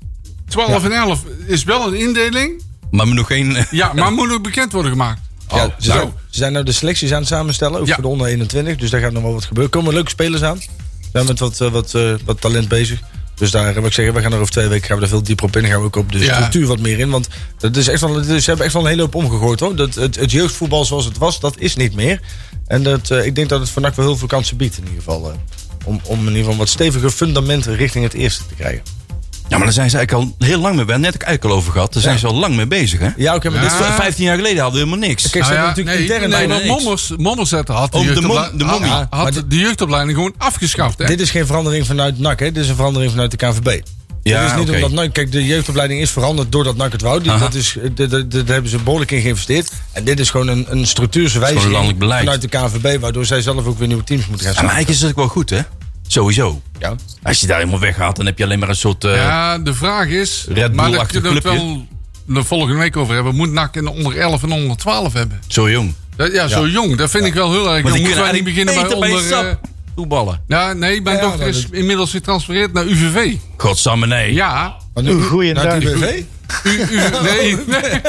12 en 11 is wel een indeling.
Maar nog geen... eh,
Ja, maar moet ook bekend worden gemaakt.
Ja,
Oh,
ze, zijn, ze zijn nou de selecties aan het samenstellen, ook
Ja.
voor de onder 21. Dus daar gaat nog wel wat gebeuren. Er komen leuke spelers aan. We zijn met wat, eh, wat, eh, wat talent bezig. Dus daar wil ik zeggen, we gaan er over twee weken gaan we er veel dieper op in. Dan gaan we ook op de
Ja.
structuur wat meer in. Want dat is echt wel, dat is- ze hebben echt wel een hele hoop omgegooid hoor. Dat, het, het jeugdvoetbal zoals het was, dat is niet meer. En dat, eh, ik denk dat het voor NAC wel heel veel kansen biedt in ieder geval. eh, om, om in ieder geval wat steviger fundamenten richting het eerste te krijgen.
Ja, maar daar zijn ze eigenlijk al heel lang mee. We hebben het net ook eigenlijk al over gehad. Daar zijn ze al lang mee bezig, hè?
Ja, oké, maar
Ja.
dit...
V- 15 jaar geleden hadden we helemaal niks.
Kijk, ze
Nou ja,
hebben natuurlijk
nee,
intern...
nee,
bijna
want
niks.
Mommers, Mommers had, had, de,
Oh, de mom-
jeugdopleiding-
de mommie.
had- had
Ja, maar
de jeugdopleiding gewoon afgeschaft. Hè?
Dit is geen verandering vanuit NAC, hè? dit is een verandering vanuit de KNVB.
Ja,
dat is niet
oké.
omdat NAC, kijk, de jeugdopleiding is veranderd doordat NAC het wou. Die,
Aha.
dat is, eh, dat- dat- daar hebben ze behoorlijk in geïnvesteerd. En dit is gewoon een, een structuurse wijziging
landelijk beleid.
vanuit de KNVB, waardoor zij zelf ook weer nieuwe teams moeten gaan
Ja, maar
staan.
eigenlijk is dat ook wel goed, hè? Sowieso.
Ja.
Als je daar helemaal weggaat, dan heb je alleen maar een soort... eh,
Ja, de vraag is...
Red
maar daar
Bull-achtig
kunnen we het
clubje.
wel de volgende week over hebben. Moet NAC in de onder 11 en onder 12 hebben?
Zo jong.
Dat- ja, zo jong. Dat vind ik wel heel erg.
Maar
Dan
die
moeten
kunnen
wij niet
eigenlijk
beginnen bij
beter bij
onder...
SAP.
eh,
Hoe voetballen.
Ja, nee, mijn
Ja,
dochter
dat
is
is-
inmiddels getransfereerd naar UVV.
Godsamme nee.
Ja.
Oeh, goeiedag.
Naar het UWV?
U, u, nee, nee.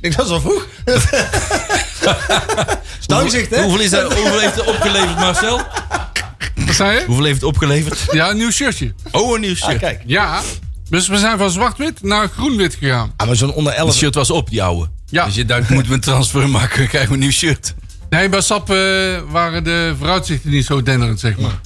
Ik dat is al vroeg. Dankzicht, hè?
Hoeveel, is dat, hoeveel heeft het opgeleverd, Marcel?
Wat zei je?
Hoeveel heeft het opgeleverd?
Ja, een nieuw shirtje.
Oh, een nieuw shirt.
Ah, kijk.
Ja. Dus we zijn van zwart-wit naar groen-wit gegaan.
Ah, maar zo'n onder
Het
11.
shirt was op, die oude.
Ja.
Dus je dacht, moeten we een transfer maken, dan krijgen we een nieuw shirt.
Nee, bij SAP eh, waren de vooruitzichten niet zo denderend, zeg maar.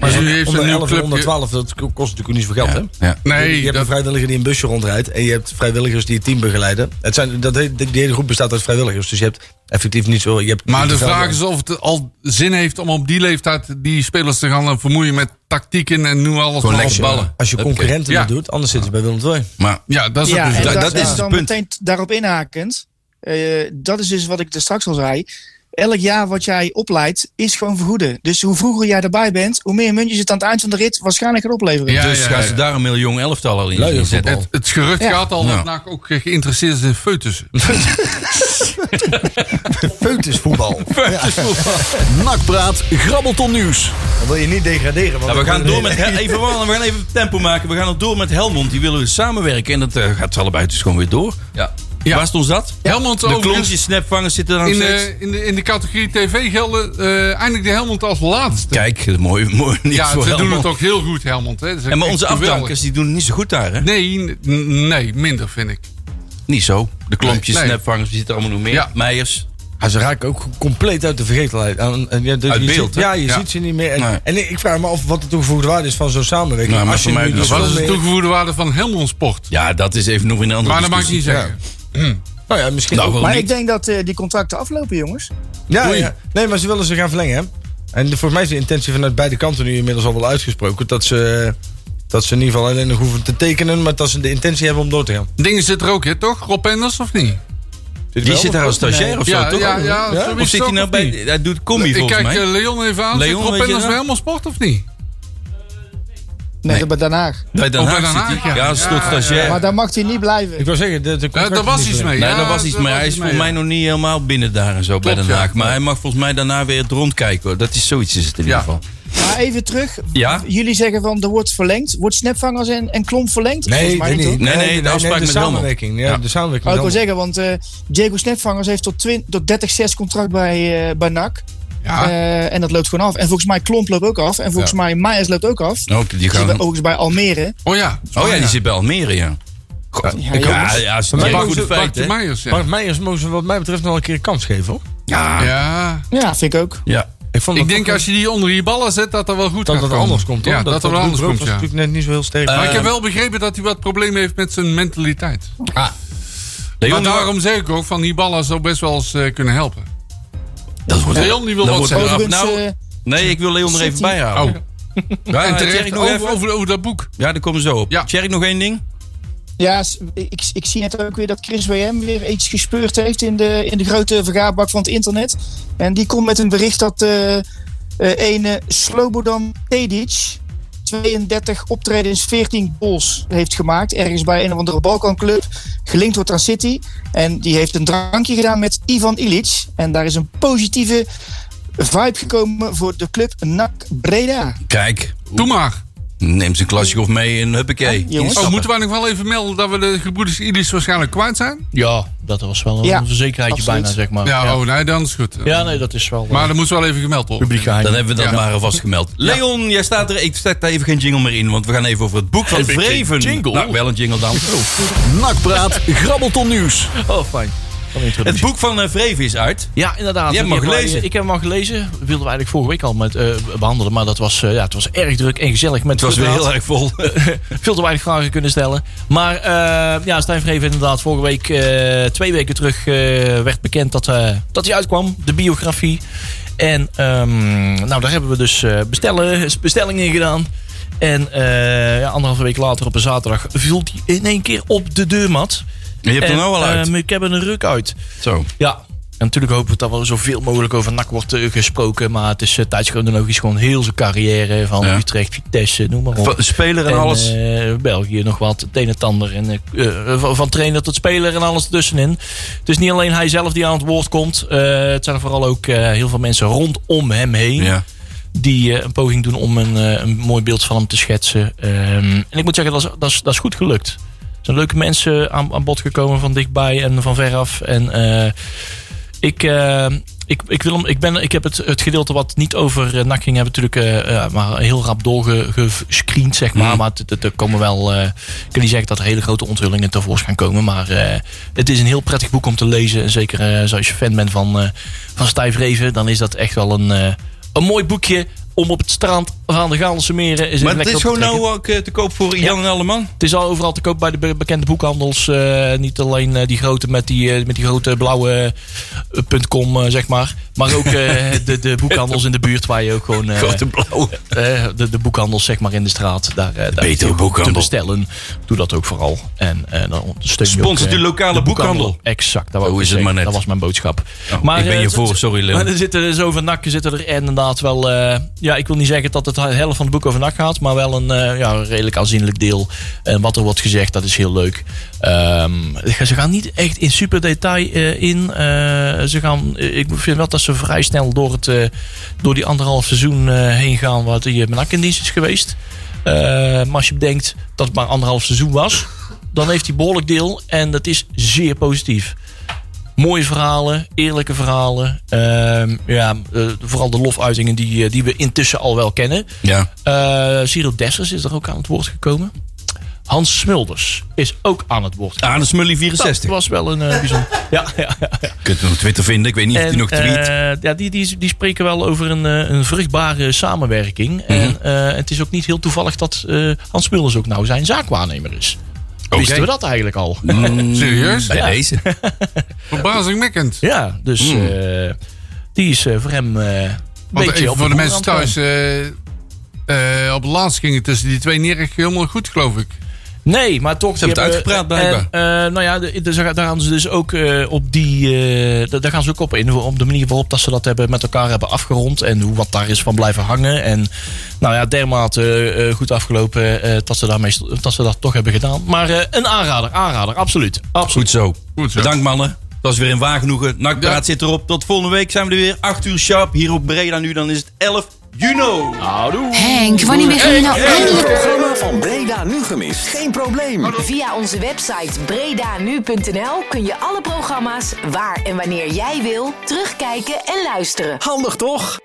Maar nu heeft
Onder
een nieuw
11 en onder
clubje...
12, dat kost natuurlijk niet zoveel geld, hè?
Ja.
Nee,
je hebt
dat-
een vrijwilliger die een busje rondrijdt. En je hebt vrijwilligers die het team begeleiden. Het zijn, dat, he- die hele groep bestaat uit vrijwilligers. Dus je hebt effectief niet zo... Je hebt
Maar
niet
de
zoveel
vraag
geld.
is of het al zin heeft om op die leeftijd die spelers te gaan eh, vermoeien met tactieken en nu alles maar
lekker,
opballen.
Als je concurrenten
Ja.
niet doet, anders zitten ze bij Willem II.
Maar
Ja, dat is
Ja,
het
en
dus.
dat-
dat,
dat
ja,
is het
dan
punt.
meteen t- daarop inhakend. eh, dat is dus wat ik er straks al zei. Elk jaar wat jij opleidt, is gewoon vergoeden. Dus hoe vroeger jij erbij bent, hoe meer muntjes het aan het eind van de rit waarschijnlijk gaat opleveren.
Ja,
dus
ja,
gaan
ja.
ze daar een miljoen elftal al in
Luie
zetten.
voetbal.
Het, het gerucht
Ja.
gaat al
Ja.
dat NAC ook geïnteresseerd is in foetussen.
Peutersvoetbal.
Nakpraat, grabbelton nieuws.
Dan wil je niet degraderen. Want
Ja, we
dan
gaan
worden
door
de-
met even, wachten, we gaan even tempo maken. We gaan het door met Helmond. Die willen we samenwerken. En dat eh, gaat allebei dus gewoon weer door. Ja. Waar stond dat?
Helmond
De
overigens
klontjes snapvangers zitten er aan
in eh,
steeds.
de, in, de, in de categorie TV gelden eh eindelijk de Helmond als laatste.
Kijk, mooi, mooi nieuws
Ja,
voor
ze doen
Helmond.
het ook heel goed, Helmond. Hè. Dat is
En maar
echt
onze
geweldig.
afdankers die doen het niet zo goed daar, hè?
Nee, n- nee, minder vind ik.
Niet zo. De klompjes,
Nee.
snapvangers, die zitten allemaal nog meer.
Ja.
Meijers.
Ja, Ah, ze raken ook compleet uit de vergetelheid. En, en, ja, dus
Uit
je
beeld,
ziet-
hè?
ja, je
Ja.
ziet ze niet meer. En,
Nee.
en ik vraag me af wat de toegevoegde waarde is van zo'n samenwerking.
Nou, maar
Als je
voor mij
nu
dat
dus
was
wel
Wat is de
mee-
toegevoegde waarde van Helmond Sport?
Ja, dat is even nog een andere
Maar dat mag ik
discussie.
niet zeggen.
Nou ja, misschien
Nou,
ook.
wel
maar
niet.
ik denk dat eh, die contracten aflopen, jongens.
Ja,
Oei.
ja. Nee, maar ze willen ze gaan verlengen, hè? En de- volgens mij is de intentie vanuit beide kanten nu inmiddels al wel uitgesproken. Dat ze, dat ze in ieder geval alleen nog hoeven te tekenen, maar dat ze de intentie hebben om door te gaan.
Dingen zit er ook, hè, toch? Rob Enders of niet?
Die zit daar als stagiair of zo,
ja,
toch?
ja, ja,
Ja?
zo
Of
is
zit
het
hij nou
ook, of
bij...
niet?
Hij doet combi
Ik
volgens
kijk
mij.
eh, Leon even aan.
Leon,
Leon, zit
weet
Rob
je
Enders
dat?
bij Helmond Sport of niet?
Nee,
Nee.
dat daarna.
Bij Den
Of bij
Haag
Den
zit
Haag,
hij.
ja.
Ja, als tot
Ja,
stagiair.
ja.
Maar daar mag hij niet
Oh, Ik
blijven.
wil zeggen, de, de
Ja,
contracten
daar was
niet
iets
verlengen.
mee.
Nee,
ja,
dat was iets,
daar
maar hij is
iets
voor
mee,
mij nog niet helemaal binnen daar en zo bij
Klopt,
Den Haag.
ja.
Maar hij mag volgens mij daarna weer het rondkijken. hoor. Dat is zoiets is het in ieder
Ja.
geval.
Maar even terug.
Ja?
Jullie zeggen van er wordt verlengd. Wordt Snapvangers en, en Klomp verlengd?
Nee,
Volgens mij
nee, nee,
toch?
Nee, nee, de
de
afspraak met Helmond.
samenwerking. Ja,
Ja.
de samenwerking.
Oh, ik wil
met
zeggen, want eh, Diego Snapvangers heeft tot, 20 tot 30-6 contract bij, eh, bij NAC.
Ja.
Eh, en dat loopt gewoon af. En volgens mij Klomp loopt ook af. En volgens mij Meijers loopt ook af.
Ook, die
Die zit bij-
gaan...
overigens bij Almere.
Oh ja.
Oh ja, die zit bij Almere, ja. God,
Ja,
Ja,
jongens.
ja, als
mij
het een
mogen
goede
ze-
feit,
Bartje
hè?
Meijers,
Helmond.
ja.
Bart Meijers mogen ze wat mij betreft nog wel een keer een kans geven, hoor.
Ja.
Ja.
Ja, vind ik ook.
Ja.
Ik, vond
Ik
dat
denk
toch
als je die onder je ballen zet, dat dat wel goed
wel-
gaat
dat dat
komen.
anders komt, hoor.
Ja, dat dat wel anders
Broek
komt,
was
ja.
natuurlijk net niet zo heel sterk.
Maar ik heb
Eh,
wel begrepen dat hij wat problemen heeft met zijn mentaliteit.
Leon,
maar daarom zeg ik ook, van die ballen zou best wel eens eh, kunnen helpen.
Dat wordt
Leon die wil
dat wordt
wat zeggen.
eraf.
Overigens,
Nou,
eh,
nee, ik wil Leon er even
City.
bij
Oh.
houden. Ja,
en
Tjerk
terecht
nog
over,
even?
over, over dat boek.
Ja, daar komen we zo op.
Ja.
Tjerk, nog één ding?
ja, s- ik, ik zie net ook weer dat Chris WM weer iets gespeurd heeft in de, in de grote vergaarbak van het internet. En die komt met een bericht dat eh eh een eh, Slobodan Tedic 32 optredens, 14 goals heeft gemaakt. Ergens bij een of andere Balkanclub. Gelinkt wordt aan City. En die heeft een drankje gedaan met Ivan Ilic. En daar is een positieve vibe gekomen voor de club NAC Breda.
Kijk,
Doe maar.
neem zijn klasje of mee en huppakee.
Ja, jongens.
Oh,
Instappen.
moeten wij nog wel even melden dat we de gebroeders Ilis waarschijnlijk kwijt zijn?
Ja, dat was wel een
Ja,
verzekerheidje
absoluut.
bijna, zeg maar.
Ja, oh nee, dan is het goed.
Ja, nee, dat is wel eh,
Maar dat moest wel even gemeld worden.
publiek geheim.
Dan hebben we dat
Ja.
maar alvast gemeld. Leon, jij staat er. Ik zet daar even geen jingle meer in, want we gaan even over het boek van
Heb ik geen
Vreven.
jingle?
Nou, wel een jingle dan.
Nakpraat, grabbelton nieuws.
Oh, fijn. Van de
Het
introductie.
boek van eh, Vreven is uit.
Ja, inderdaad.
Jij hebt
Ik
hem
heb
al gelezen.
eh, Ik heb hem al gelezen. Dat wilden we eigenlijk vorige week al met, eh, behandelen. Maar dat was, eh, ja, het was erg druk en gezellig. Met
Het was weer
inderdaad
heel erg vol.
Veel te weinig vragen kunnen stellen. Maar eh, ja, Stijn Vreven inderdaad vorige week, eh, twee weken terug, eh, werd bekend dat, eh, dat hij uitkwam. De biografie. En ehm, nou, daar hebben we dus eh, bestellen, bestellingen in gedaan. En eh, ja, anderhalve week later op een zaterdag viel hij in één keer op de deurmat.
Je hebt er
En,
nou al uit.
ehm, ik heb er een ruk uit.
Zo.
Ja. En natuurlijk hopen we dat er zoveel mogelijk over NAC wordt eh, gesproken. Maar het is uh, tijdschronologisch gewoon heel zijn carrière. Van
Ja.
Utrecht, Vitesse, noem maar op.
Van Speler en alles.
eh, België nog wat, het een en het ander. En, eh, eh, van- van trainer tot speler en alles ertussenin. Het is niet alleen hij zelf die aan het woord komt. eh, het zijn er vooral ook eh, heel veel mensen rondom hem heen.
ja.
Die eh, een poging doen om een, eh, een mooi beeld van hem te schetsen. Ehm, en ik moet zeggen, dat is, dat is, dat is goed gelukt. Er zijn leuke mensen aan, aan bod gekomen van dichtbij en van veraf. En eh, ik, eh, ik, ik, wil hem, ik, ben, ik heb het, het gedeelte wat niet over eh, NAC ging hebben natuurlijk eh, eh, maar heel rap doorgescreend, zeg maar.
Mm.
Maar het- het- er komen wel, eh, ik kan niet zeggen dat er hele grote onthullingen tevoorschijn komen. Maar eh, het is een heel prettig boek om te lezen. En zeker eh, zoals je fan bent van, eh van Stijf Reven, dan is dat echt wel een, eh, een mooi boekje. Om op het strand van de Gaalse meren... eens even
Maar het is
lekker op te
gewoon
trekken.
nou ook eh, te koop voor Jan en Alleman.
Het is al overal te koop bij de be- bekende boekhandels. eh, niet alleen eh, die grote met die, eh, met die grote blauwe eh, punt .com, eh, zeg maar. Maar ook eh, de, de boekhandels in de buurt waar je ook gewoon... eh,
Grote blauwe.
eh, de, de boekhandels zeg maar in de straat. Daar, eh, daar is die ook
boekhandel.
te bestellen. Doe dat ook vooral. En eh, dan steun je
Sponsor
ook, eh,
de lokale boekhandel.
Exact. Dat, wou
Zo
ik
is het
zeggen.
maar net. Nou,
dat was mijn boodschap.
ik ben
eh,
je
het-
voor, sorry Leon.
maar er zitten dus over NAC zitten er inderdaad wel... eh, ja, ik wil niet zeggen dat het de helft van het boek over NAC gaat... maar wel een eh, ja, een redelijk aanzienlijk deel. En wat er wordt gezegd, dat is heel leuk. Ehm, ze gaan niet echt in super detail eh, in. Eh, ze gaan, eh, ik vind wel dat ze vrij snel door, het, eh, door die anderhalf seizoen eh, heen gaan... waar die eh, NAC in dienst is geweest. Eh, maar als je bedenkt dat het maar anderhalf seizoen was... dan heeft hij behoorlijk deel en dat is zeer positief. Mooie verhalen, eh, eerlijke verhalen. Ehm, ja, eh, vooral de lofuitingen die, eh, die we intussen al wel kennen.
Ja.
Eh Cyril Dessers is er ook aan het woord gekomen. Hans Smulders is ook aan het woord.
Aan de Smully
Dat
64.
was wel een eh, bijzonder. Ja, ja, ja.
Je kunt hem op Twitter vinden. Ik weet niet of hij nog tweet.
eh, ja, die, die, die spreken wel over een, eh, een vruchtbare samenwerking.
Mhm.
En eh, het is ook niet heel toevallig dat eh, Hans Smulders ook nou zijn zaakwaarnemer is. Wisten we dat eigenlijk al?
Mhm. Serieus?
Bij
Mm. Ja.
deze.
Verbazingwekkend.
Ja, dus eh, die is eh, voor hem eh, een
Mhm. Want
beetje
even
op
voor de mensen
voorhand
thuis. eh, eh, op het laatst ging het tussen die twee niet echt helemaal goed, geloof ik.
Nee, maar toch. Ze
hebben het uitgepraat, blijkbaar.
nou ja, de- dus daar daar gaan ze dus ook eh, op die. eh, da- daar gaan ze ook op in. Op de manier waarop dat ze dat hebben met elkaar hebben afgerond. En hoe wat daar is van blijven hangen. En nou ja, dermate eh, goed afgelopen eh, dat, ze daarmee, st- dat ze dat toch hebben gedaan. Maar eh, een aanrader, aanrader, absoluut. absoluut.
Goed zo.
Goed zo.
Bedankt mannen. Dat is weer een waargenoegen. Nakpraat
Ja.
zit erop. Tot volgende week zijn we er weer. 8 uur sharp. Hier op Breda nu. Dan is het 11 juni.
Henk, wanneer ga je nou
Het
eindelijk...
programma van Breda Nu gemist. Geen probleem.
Via onze website bredanu.nl kun je alle programma's waar en wanneer jij wil terugkijken en luisteren.
Handig toch?